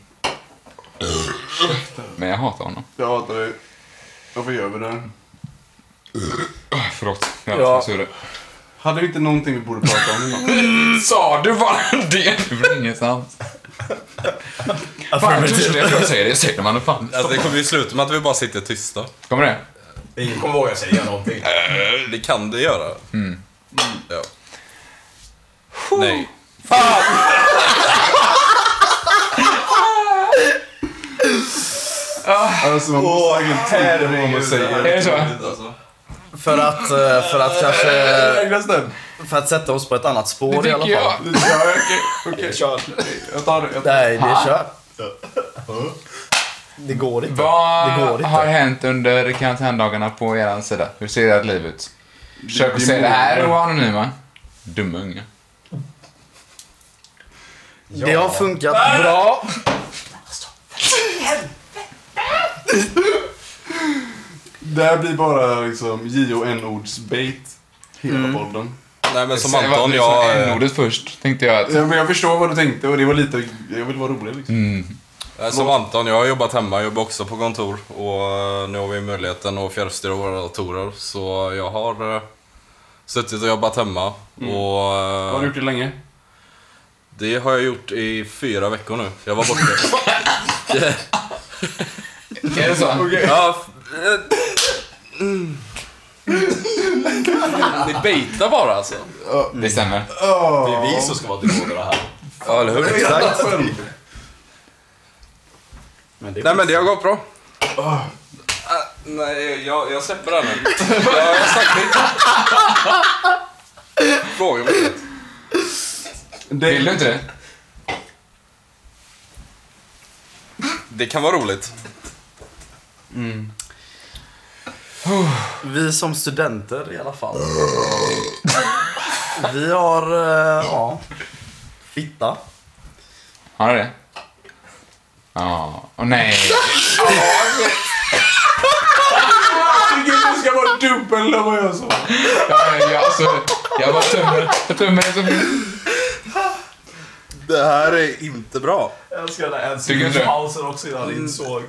Speaker 1: Men jag hatar honom.
Speaker 2: Jag hatar dig. Varför gör vi det?
Speaker 1: Ah, Förlåt, jag
Speaker 3: Ja.
Speaker 1: ja. det.
Speaker 2: Hade vi inte någonting vi borde prata om innan?
Speaker 1: Sa du bara det? Det var inget sant. Fan, jag törs inte att jag säger det. Säger man det fan.
Speaker 4: Alltså, det kommer ju sluta med att vi bara sitter tysta.
Speaker 1: Kommer det?
Speaker 5: Ingen kommer våga säga någonting.
Speaker 4: Det kan det göra.
Speaker 2: Mm.
Speaker 4: Ja. Nej.
Speaker 2: Alltså, man måste verkligen tänka på vad man
Speaker 1: Är
Speaker 2: säger.
Speaker 1: det så?
Speaker 3: För att, eh, för att kanske...
Speaker 2: Agnes den.
Speaker 3: För att sätta oss på ett annat spår i
Speaker 1: Det
Speaker 3: alla
Speaker 1: tycker
Speaker 3: fall.
Speaker 1: jag.
Speaker 2: Ja, Okej, okej.
Speaker 5: Kör.
Speaker 2: Jag tar det. Jag tar det.
Speaker 3: Nej, det är kört. Mm. Det går inte.
Speaker 1: Vad
Speaker 3: Det går inte.
Speaker 1: har hänt under karantändagarna på er sida? Hur ser ert liv ut? Försök
Speaker 2: Det-
Speaker 1: att
Speaker 2: det
Speaker 1: säga det här
Speaker 2: mår-
Speaker 1: och vara anonyma. Dumma unga.
Speaker 3: Det har funkat
Speaker 1: Äh!
Speaker 3: bra.
Speaker 2: Det här blir bara liksom J-O-N-ords bait. Hela podden.
Speaker 4: Nej men som
Speaker 1: Säg vad
Speaker 4: Anton,
Speaker 1: du sa
Speaker 4: jag... eh,
Speaker 1: N-ordet först, tänkte jag. Att,
Speaker 2: Ja, men jag förstår vad du tänkte och det var lite, jag vill vara rolig liksom.
Speaker 1: Mm.
Speaker 4: eh, Som Anton, jag har jobbat hemma, jag jobbar också på kontor. Och eh, nu har vi möjligheten att fjärrstyra våra datorer. Så jag har eh, suttit och jobbat hemma. Och eh,
Speaker 2: Mm. Har du gjort det länge?
Speaker 4: det har jag gjort i fyra veckor nu. Jag var borta.
Speaker 1: är det så?
Speaker 4: ja, f- eh, mm. Ni baitar bara alltså.
Speaker 1: Det stämmer.
Speaker 5: Det är vi som ska vara demonerna här.
Speaker 4: Ja, eller hur?
Speaker 3: Exakt. Men det
Speaker 4: Nej men det har gått bra. Ah, nej, jag, jag släpper [LAUGHS] den nu. Jag har sagt mitt. Fråga mig inte.
Speaker 1: Vill du inte det?
Speaker 4: Det kan vara roligt.
Speaker 3: Vi som studenter i alla fall. Vi har, eh, ja, fitta.
Speaker 1: Har du det? Ja. Åh nej.
Speaker 2: Det ska vara dubbel av vad jag sa.
Speaker 1: Ja, ja, alltså, jag var alltså, tummen. Jag tummen som
Speaker 4: Det här är inte bra.
Speaker 5: Jag älskar den här
Speaker 1: Tycker du inte det?
Speaker 5: ensamhalsen också innan han insåg.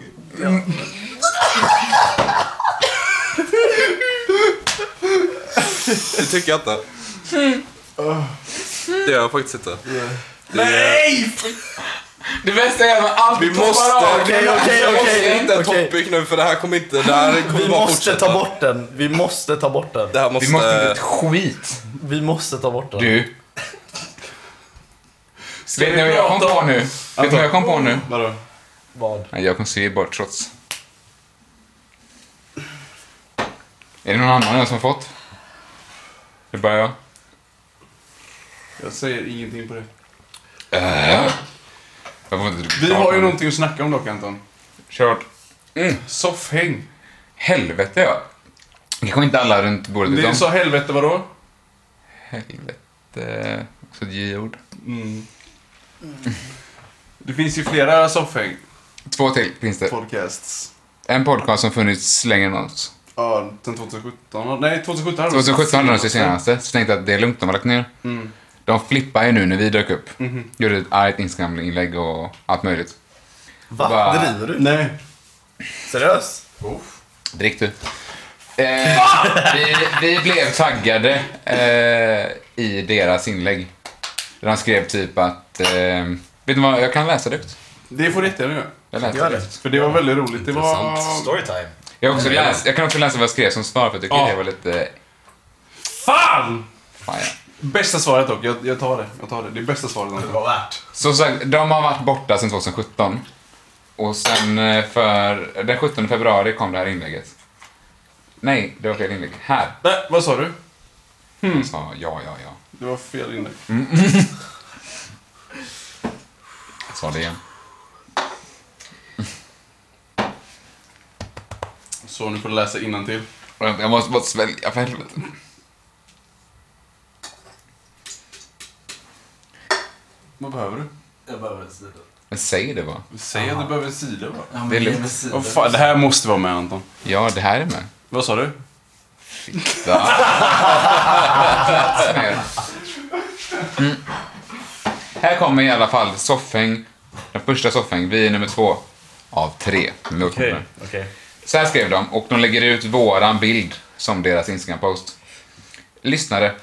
Speaker 4: Det tycker jag inte. Mm. Det gör jag faktiskt inte.
Speaker 5: Nej!
Speaker 1: Det bästa är att man
Speaker 4: Vi
Speaker 1: alltid
Speaker 4: måste...
Speaker 1: av.
Speaker 3: Okej, okej,
Speaker 4: Vi måste
Speaker 3: okej,
Speaker 4: hitta en
Speaker 3: okej.
Speaker 4: topic nu för det här kommer inte... Det här kommer
Speaker 3: Vi
Speaker 4: bara
Speaker 3: måste
Speaker 4: fortsätta.
Speaker 3: ta bort den. Vi måste ta bort den.
Speaker 4: Det här måste...
Speaker 1: Vi måste inte ett skit.
Speaker 3: Vi måste ta bort den.
Speaker 1: Du. Vet ni vad jag kom på nu? Vet ni vad jag kom på nu?
Speaker 2: Vadå?
Speaker 3: Vad?
Speaker 1: Nej, jag kommer se bort trots. Är det någon annan än som fått? Det är bara jag.
Speaker 2: Jag säger ingenting på det.
Speaker 1: Eh. jag får inte
Speaker 2: Vi har ju någonting att snacka om dock Anton.
Speaker 1: Kört.
Speaker 2: Soffhäng.
Speaker 1: Helvete ja. Det kom inte alla runt bordet
Speaker 2: Det är
Speaker 1: utom.
Speaker 2: så helvete vadå?
Speaker 1: Helvete. Också ett J-ord.
Speaker 2: Det finns ju flera soffhäng.
Speaker 1: Två till finns det.
Speaker 2: Podcasts.
Speaker 1: En podcast som funnits längre än oss.
Speaker 2: Ja, sen 2017. va? Nej, 2017 hade vi-
Speaker 1: 2017 var det
Speaker 2: Mm.
Speaker 1: senaste, så tänkte jag att det är lugnt, de har lagt ner. De flippar ju nu när vi dök upp.
Speaker 2: Mm-hmm.
Speaker 1: Gjorde ett argt Instagram-inlägg och allt möjligt.
Speaker 3: Va?
Speaker 1: Va?
Speaker 3: Driver du?
Speaker 2: Nej.
Speaker 3: Seriöst?
Speaker 1: Drick du. Eh, vi, vi blev taggade eh, i deras inlägg. Där de skrev typ att... Eh, vet ni vad, jag kan läsa det ut.
Speaker 2: Det får du jättegärna göra.
Speaker 1: Jag läser
Speaker 3: Gör
Speaker 1: det.
Speaker 3: det.
Speaker 1: ut.
Speaker 2: För det var väldigt roligt. Det var...
Speaker 5: Storytime.
Speaker 1: Jag, har också läst, jag kan också läsa vad jag skrev som svar, för jag tycker
Speaker 2: Ja.
Speaker 1: det var lite...
Speaker 2: Fan!
Speaker 1: Fan, ja.
Speaker 2: Bästa svaret dock. Jag, jag tar det. Jag tar det. Det är bästa svaret
Speaker 5: Det
Speaker 2: någonsin.
Speaker 5: var värt.
Speaker 1: Som sagt, de har varit borta sedan 2017. Och sen eh, för... Den 17 februari kom det här inlägget. Nej, det var fel inlägg. Här
Speaker 2: Nej, vad sa du?
Speaker 3: Hmm.
Speaker 1: sa ja, ja, ja.
Speaker 2: Det var fel inlägg.
Speaker 1: Jag sa det igen.
Speaker 2: Så, nu får du läsa innantill.
Speaker 1: Och Jag jag måste bara svälja, för helvete.
Speaker 2: Vad behöver du?
Speaker 5: Jag behöver en sida.
Speaker 1: Men säg det bara.
Speaker 2: Säg att du behöver en sida bara.
Speaker 5: Ja, men
Speaker 1: Det är
Speaker 5: ge
Speaker 1: lugnt.
Speaker 5: mig sidor.
Speaker 2: Åh fan, det här måste vara med Anton.
Speaker 1: Ja, det här är med.
Speaker 2: Vad sa du? [LAUGHS]
Speaker 1: Fitta. Mm. Här kommer i alla fall soffhäng. Den första soffhäng. Vi är nummer två av tre. Med åttonde.
Speaker 3: Okej.
Speaker 1: Så här skrev de och de lägger ut våran bild som deras Instagram-post. Lyssnare.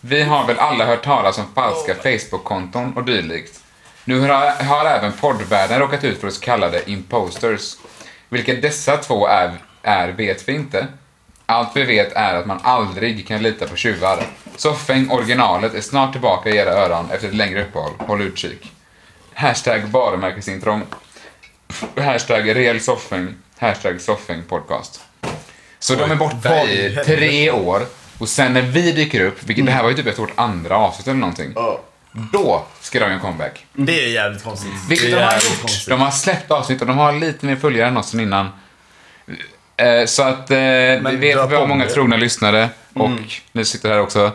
Speaker 1: Vi har väl alla hört talas om falska Facebook-konton och dylikt. Nu har, har även poddvärlden råkat ut för så kallade imposters. Vilka dessa två är, är vet vi inte. Allt vi vet är att man aldrig kan lita på tjuvar. Soffäng originalet är snart tillbaka i era öron efter ett längre uppehåll. Håll utkik. Hashtag varumärkesintrång. Hashtag reell soffäng. Hashtag soffäng podcast. Så de är borta
Speaker 3: vad i
Speaker 1: i
Speaker 3: helvete.
Speaker 1: tre år. Och sen när vi dyker upp, vilket det här var ju typ ett vårt andra avsnitt eller någonting. Då ska de göra en comeback.
Speaker 3: Det är jävligt konstigt.
Speaker 1: Vilket de
Speaker 3: det är
Speaker 1: har
Speaker 3: jävligt
Speaker 1: gjort. De har släppt avsnitt och de har lite mer följare än någonsin innan. Eh, Så att eh, vi vet
Speaker 3: dra
Speaker 1: att vi har
Speaker 3: på Mm.
Speaker 1: många
Speaker 3: det.
Speaker 1: trogna lyssnare och ni sitter här också.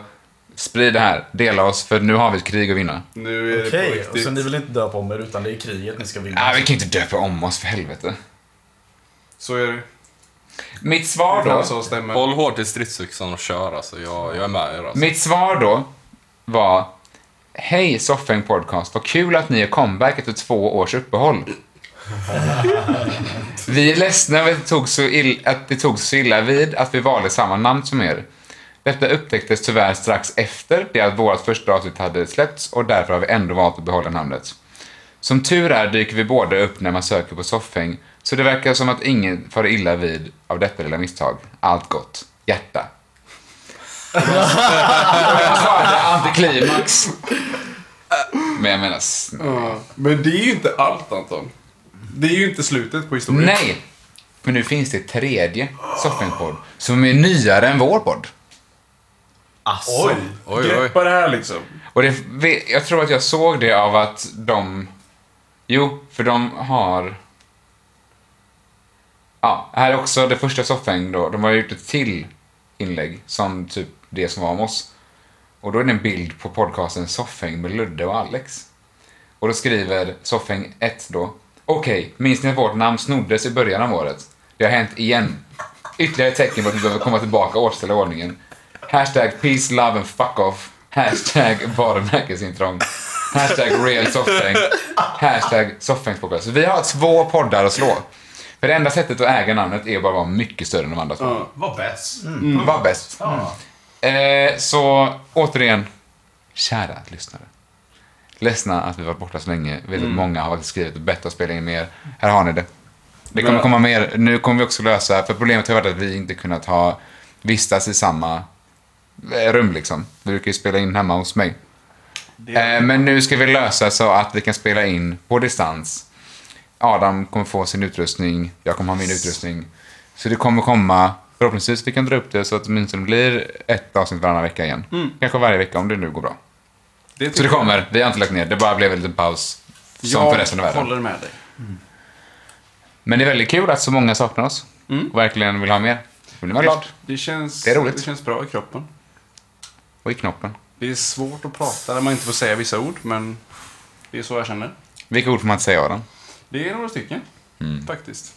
Speaker 1: Sprid det här, dela oss, för nu har vi ett krig att
Speaker 3: Mm.
Speaker 1: vinna.
Speaker 2: Nu är det på
Speaker 3: Okej, och
Speaker 2: riktigt.
Speaker 3: så ni vill inte döpa om er utan det är kriget ni ska vinna.
Speaker 1: Ah, vi kan ju inte döpa om oss, för helvete.
Speaker 2: Så är det.
Speaker 1: Mitt svar
Speaker 2: Det är
Speaker 1: då,
Speaker 2: det som stämmer.
Speaker 4: Håll hårt i stridsyxan och kör alltså. Jag, jag är med er alltså.
Speaker 1: mitt svar då var Hej Soffhäng Podcast, vad kul att ni är comeback efter två års uppehåll. Vi är ledsna över att det tog så ill- att det tog så illa vid att vi valde samma namn som er. Detta upptäcktes tyvärr strax efter det att vårt första avsnitt hade släppts och därför har vi ändå valt att behålla namnet. Som tur är dyker vi båda upp när man söker på soffhäng, så det verkar som att ingen far illa vid av detta lilla misstag. Allt gott. Hjärta. Jag svarade antiklimax. Men jag menar snälla.
Speaker 2: Ja. Men det är ju inte allt Anton. Det är ju inte slutet på historien.
Speaker 1: Nej! Men nu finns det ett tredje soffhängpodd som är nyare än vår podd.
Speaker 3: Alltså.
Speaker 2: Oj!
Speaker 4: Oj,
Speaker 2: Greppa det här liksom.
Speaker 1: Och det, vi- jag tror att jag såg det av att de... Jo, för de har... Ja, här är också det första soffhäng då. De har gjort ett till inlägg som typ det som var om oss. Och då är det en bild på podcasten Soffhäng med Ludde och Alex. Och då skriver Soffhäng 1 då. Okej, minns ni att vårt namn snoddes i början av året? Det har hänt igen. Ytterligare ett tecken på att vi behöver komma tillbaka och återställa ordningen. Hashtag peace, love and fuck off. Hashtag varumärkesintrång. Hashtag real soffhäng. Hashtag soffhängspodcast. Så Vi har två poddar att slå. För det enda sättet att äga namnet är att bara vara mycket större än de andra två. Mm.
Speaker 2: Ja.
Speaker 5: Vad bäst.
Speaker 1: Var bäst.
Speaker 5: Ja.
Speaker 1: Eh, så återigen, kära lyssnare. Ledsna att vi var borta så länge. Vet att många har faktiskt skrivit och bett oss spela in mer. Här har ni det. Det kommer
Speaker 2: Men-
Speaker 1: komma mer. Nu kommer vi också lösa, för problemet har varit att vi inte kunnat ha vistas i samma eh, rum liksom. Vi brukar ju spela in hemma hos mig. Eh, men nu ska vi lösa så att vi kan spela in på distans. Adam kommer få sin utrustning, jag kommer ha min utrustning. Så det kommer komma, förhoppningsvis vi kan dra upp det så att det åtminstone blir ett avsnitt varannan vecka igen. Kanske varje vecka om det nu går bra.
Speaker 2: Det
Speaker 1: Så det kommer, vi har inte lagt ner, det bara blev en liten paus. Som för resten av världen.
Speaker 2: Jag håller med dig.
Speaker 1: Men det är väldigt kul att så många saknar oss. Och verkligen vill ha mer. Då blir man glad.
Speaker 2: Det känns,
Speaker 1: Det är roligt.
Speaker 2: det känns bra i kroppen.
Speaker 1: Och i knoppen.
Speaker 2: Det är svårt att prata när man inte får säga vissa ord, men det är så jag känner.
Speaker 1: Vilka ord får man inte säga Adam?
Speaker 2: Det är några stycken,
Speaker 1: Mm.
Speaker 2: faktiskt.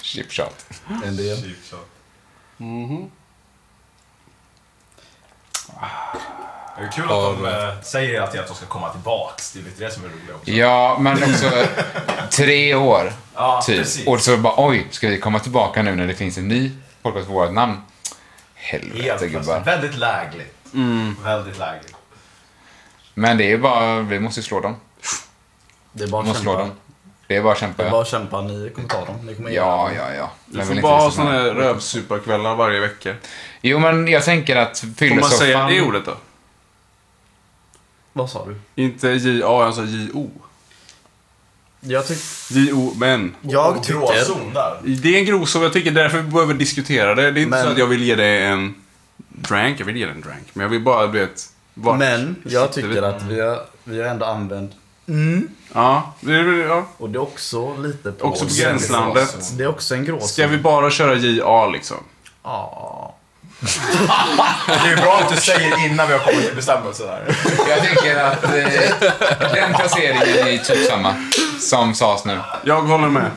Speaker 1: Chip shot.
Speaker 3: En del.
Speaker 5: Typ så. Det är kul att de eh, säger att jag- att de ska komma tillbaks. Det är lite det som är roligt också.
Speaker 1: Ja, men också tre år.
Speaker 5: Ja,
Speaker 1: Typ.
Speaker 5: precis.
Speaker 1: Och så bara oj, ska vi komma tillbaka nu när det finns en ny podcast på vårt namn?
Speaker 5: Helt
Speaker 1: Helvete
Speaker 5: plötsligt.
Speaker 1: gubbar.
Speaker 5: Väldigt lägligt. Väldigt lägligt.
Speaker 1: Men det är ju bara, vi måste ju slå dem.
Speaker 3: Det är bara
Speaker 1: Vi
Speaker 3: att
Speaker 1: måste slå
Speaker 3: kämpa.
Speaker 1: dem. Det är bara att
Speaker 3: Det
Speaker 1: kämpa.
Speaker 3: är bara
Speaker 1: Ja,
Speaker 3: att kämpa. Ni kommer ta dem. Ni kommer göra
Speaker 1: ja,
Speaker 3: det.
Speaker 1: ja. ja.
Speaker 2: Du
Speaker 1: Men
Speaker 2: får
Speaker 1: vill
Speaker 2: bara
Speaker 1: inte
Speaker 2: ha
Speaker 1: visa
Speaker 2: såna
Speaker 1: mig.
Speaker 2: här rövsuparkvällar varje vecka.
Speaker 1: Jo, men jag tänker att
Speaker 2: Får man säga det
Speaker 1: fyllesoffan...
Speaker 2: ordet då?
Speaker 3: Vad sa du?
Speaker 2: Inte J-A, jag sa J-O.
Speaker 3: Jag, tyck
Speaker 2: J-O, men.
Speaker 3: jag
Speaker 5: Och
Speaker 3: tycker...
Speaker 5: Gråzon där.
Speaker 2: Det är en grov jag tycker därför vi behöver diskutera det. Det är inte
Speaker 3: Men-
Speaker 2: så att jag vill ge dig en drank, jag vill ge dig en drank. Men jag vill bara, du vet, vart
Speaker 3: Men jag
Speaker 2: sitter vi?
Speaker 3: tycker att vi har, vi har ändå använt...
Speaker 2: Ja, det är väl- ja.
Speaker 3: Och det är också lite på...
Speaker 2: Också på gränslandet.
Speaker 3: Det är också en gråzon.
Speaker 2: Ska vi bara köra J-A liksom?
Speaker 3: Ja.
Speaker 5: Det är bra att du säger innan vi har kommit till bestämmelse där.
Speaker 1: Jag tänker att eh, den placeringen är typ samma som sades nu.
Speaker 2: Jag håller med.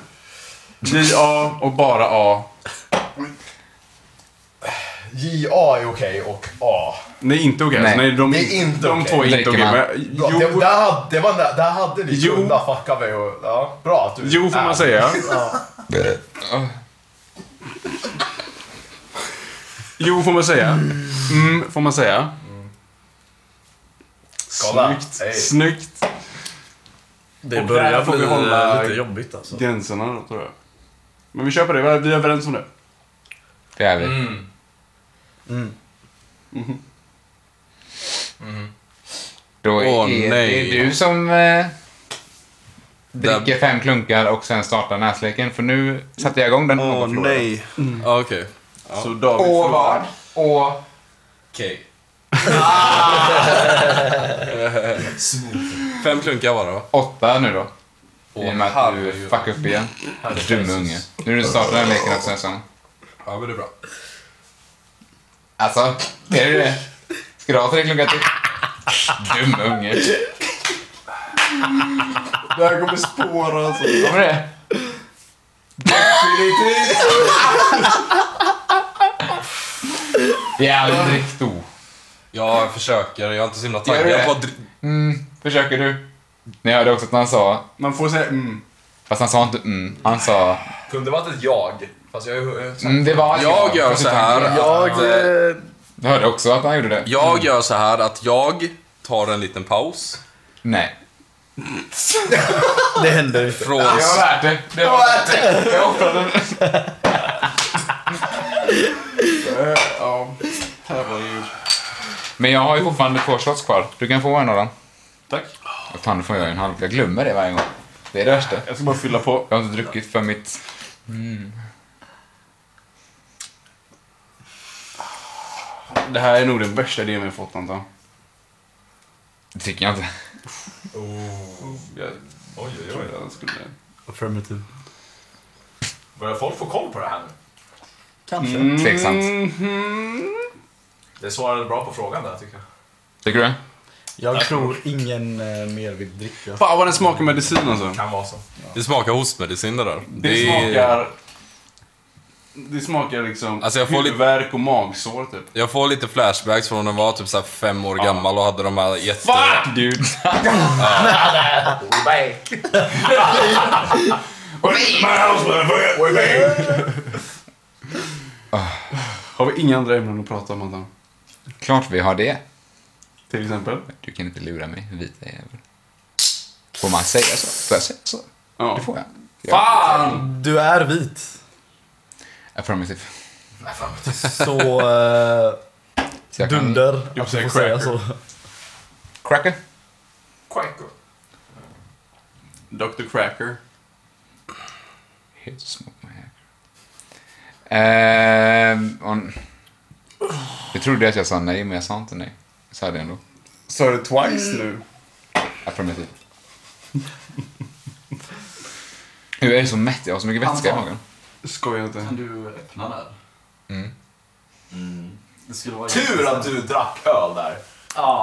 Speaker 2: J-A och bara A.
Speaker 5: JA är okej och A.
Speaker 2: Nej, inte okej.
Speaker 1: Nej.
Speaker 2: Nej. Nej, de,
Speaker 5: Det är inte
Speaker 2: de
Speaker 5: okej.
Speaker 2: två är inte
Speaker 1: Dricker
Speaker 2: okej.
Speaker 1: man.
Speaker 2: men-
Speaker 5: Bra,
Speaker 2: Jo,
Speaker 5: det, där, hade- det var, där, där hade ni
Speaker 2: Jo.
Speaker 5: Äh, kunnat fucka mig och... Ja, bra att du
Speaker 2: jo får
Speaker 5: är-
Speaker 2: man säga.
Speaker 5: Ja.
Speaker 2: Jo, får man säga. Mm, får man säga.
Speaker 5: Skala.
Speaker 2: Snyggt.
Speaker 5: Hej.
Speaker 2: Snyggt.
Speaker 3: Det
Speaker 2: Och där
Speaker 3: börjar
Speaker 2: får
Speaker 3: bli
Speaker 2: vi hålla-
Speaker 3: lite jobbigt alltså.
Speaker 2: Gränserna då, tror jag. Men vi köper det. Vi är överens om det.
Speaker 1: Det är vi.
Speaker 5: Mm.
Speaker 3: Mm.
Speaker 5: Mm.
Speaker 1: Då
Speaker 4: Åh,
Speaker 1: är
Speaker 4: nej.
Speaker 1: det du som eh, dricker
Speaker 4: Där-
Speaker 1: fem klunkar och sen startar näsleken. För nu satte jag igång den
Speaker 4: Åh
Speaker 1: och förlorade.
Speaker 4: nej. Ja, Mm. Ah, Okej.
Speaker 2: Så David
Speaker 1: Och
Speaker 2: förlorar.
Speaker 1: vad? Och...
Speaker 5: Okej.
Speaker 4: [LAUGHS] Fem klunkar var det va?
Speaker 1: Åtta nu då. I
Speaker 4: Åh,
Speaker 1: och med att du
Speaker 4: herregud.
Speaker 1: fuckar upp igen. Dumme unge. Nu du startar den leken också nästan.
Speaker 4: Ja men det är bra.
Speaker 1: Alltså, är det det? Ska du ha tre klunkar till? Dumme unge.
Speaker 2: Det här kommer spåra alltså.
Speaker 1: Kommer det?
Speaker 2: Definitivt.
Speaker 1: Jävligt då.
Speaker 4: Jag försöker, jag är inte så himla
Speaker 1: Gör du
Speaker 4: taggad
Speaker 1: det?
Speaker 4: på att dri-
Speaker 1: Mm, försöker du? Ni hörde också att han sa,
Speaker 2: Man får säga mm.
Speaker 1: fast han sa inte mm, han sa
Speaker 5: Kunde varit ett jag. Fast jag är ju...
Speaker 1: mm, det var
Speaker 4: Jag gör så här.
Speaker 3: Jag... eh,
Speaker 1: Du hörde också att han gjorde det?
Speaker 4: Jag gör så här att jag tar en liten paus
Speaker 1: Nej.
Speaker 3: Det händer inte.
Speaker 4: från...
Speaker 1: Det var värt det. Det var värt det. Jag offrade den.
Speaker 2: Eh, ja. Herregud.
Speaker 1: Men jag har ju fortfarande två shots kvar. Du kan få en av dem.
Speaker 2: Tack.
Speaker 1: Och fan, nu får jag ju en halv. Jag glömmer det varje gång. Det är det värsta.
Speaker 2: Jag ska bara fylla på.
Speaker 1: Jag har inte druckit för mitt...
Speaker 2: Det här är nog den värsta idén vi har fått antar jag.
Speaker 1: Det tycker jag inte.
Speaker 2: Jag
Speaker 5: Oj, oj, oj.
Speaker 2: trodde jag skulle...
Speaker 3: Affirmative.
Speaker 5: Börjar folk få koll på det här nu?
Speaker 3: Kanske.
Speaker 4: Mm.
Speaker 1: Tveksamt.
Speaker 2: Mhm.
Speaker 5: Det svarade bra på frågan där tycker jag.
Speaker 1: Tycker du?
Speaker 3: Jag tror ingen eh, mer vill dricka.
Speaker 2: Fan vad den smakar medicin alltså.
Speaker 5: Kan vara så.
Speaker 4: Det smakar hostmedicin det där.
Speaker 2: Det, smakar... Det smakar liksom
Speaker 4: Alltså, jag får lite-
Speaker 2: huvudvärk och magsår typ.
Speaker 4: Jag får lite flashbacks från när jag var typ så här fem år gammal och hade de här jätte...
Speaker 1: Fuck
Speaker 2: [LAUGHS]
Speaker 1: dude!
Speaker 5: We're back!
Speaker 2: Ah. Har vi inga andra ämnen att prata om antar jag?
Speaker 1: Klart vi har det.
Speaker 2: Till exempel?
Speaker 1: Du kan inte lura mig, vita jävel. Får man säga så? Får jag säga så?
Speaker 2: Ja.
Speaker 1: Det får jag. Ja.
Speaker 2: Fan!
Speaker 3: Du är vit.
Speaker 1: Affirmative.
Speaker 3: Så... eh,
Speaker 2: [LAUGHS]
Speaker 1: Så jag kan-
Speaker 3: dunder
Speaker 2: Jag
Speaker 3: att du
Speaker 2: säger
Speaker 3: får säga så.
Speaker 2: cracker.
Speaker 1: Cracker.
Speaker 5: Quaco.
Speaker 2: Dr. Cracker.
Speaker 1: Here to smoke my hair. Ehm, on... Jag trodde att jag sa nej, men jag sa inte nej. Jag sa det ändå.
Speaker 2: Sa du twice nu?
Speaker 1: Affirmative. Jag är så mätt, jag har så mycket vätska i magen.
Speaker 2: Skojar inte.
Speaker 6: Kan du öppna där?
Speaker 1: Mm.
Speaker 6: Mm. Det skulle vara
Speaker 5: Tur att du drack öl där.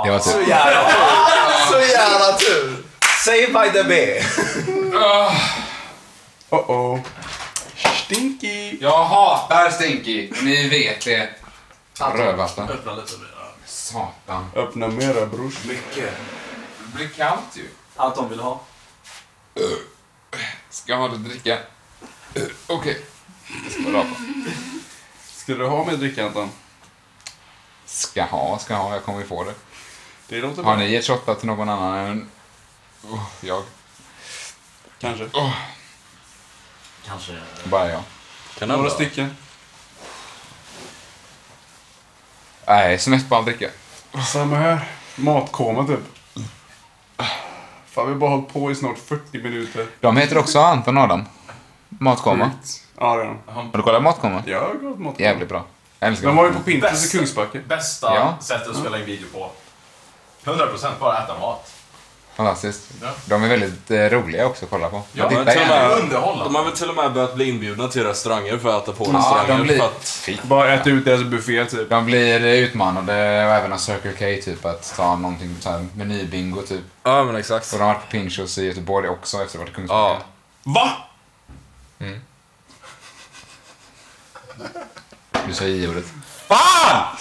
Speaker 1: Det var
Speaker 5: Så
Speaker 1: typ...
Speaker 5: jävla tur! Så jävla tur! Save by the bee.
Speaker 2: Oh oh. Stinky!
Speaker 1: Jag hatar Stinky, ni vet det. Rövvatten.
Speaker 6: Öppna lite mer. ja.
Speaker 1: Satan.
Speaker 2: Öppna mera brors.
Speaker 5: Mycket.
Speaker 1: Det blir kallt ju.
Speaker 6: Anton vill ha.
Speaker 1: Ska jag ha det att dricka? Okej. Jag ska bara rapa.
Speaker 2: Ska du ha med dricka Anton?
Speaker 1: Ska ha, ska ha, jag kommer ju få det.
Speaker 2: Det låter bra.
Speaker 1: Har ni gett shotta till någon annan än oh, jag?
Speaker 2: Kanske.
Speaker 6: Kanske.
Speaker 1: Bara jag.
Speaker 4: Kan det
Speaker 2: Några
Speaker 4: vara?
Speaker 2: stycken.
Speaker 1: Nej, som mest bara dricka.
Speaker 2: Samma här. Matkoma typ. Fan vi har bara hållit på i snart 40 minuter.
Speaker 1: De heter också Anton och Adam. Matkoma.
Speaker 2: Sjukt. Ja det är de.
Speaker 1: Har du kollat Matkoma?
Speaker 2: Jag har gått matkoma.
Speaker 1: Jävligt bra. Jag älskar
Speaker 2: De var ju på
Speaker 1: Matkoma.
Speaker 2: Pinterest
Speaker 5: Bästa.
Speaker 2: i Kungsbacka.
Speaker 5: Bästa
Speaker 1: Ja.
Speaker 5: sättet att spela in video på. 100% bara äta mat.
Speaker 1: Fantastiskt.
Speaker 5: Ja.
Speaker 1: De är väldigt eh, roliga också att kolla på.
Speaker 5: Ja,
Speaker 1: Jag
Speaker 4: men
Speaker 1: tittar
Speaker 4: till och
Speaker 1: gärna.
Speaker 4: med-
Speaker 5: Underhållande.
Speaker 4: De har väl till och med börjat bli inbjudna till restauranger för att äta på
Speaker 1: Ja,
Speaker 4: restauranger.
Speaker 1: de blir,
Speaker 4: för att...
Speaker 1: Fy.
Speaker 2: Bara äta ut deras buffé typ.
Speaker 1: de blir utmanade och även av Circle K typ att ta någonting, så här, menybingo typ.
Speaker 4: Ja men exakt.
Speaker 1: Och de har varit på Pinchos i Göteborg också efter att ha varit i Kungsbacka.
Speaker 4: Ja.
Speaker 2: Va?
Speaker 1: Du säger i ordet
Speaker 4: Fan!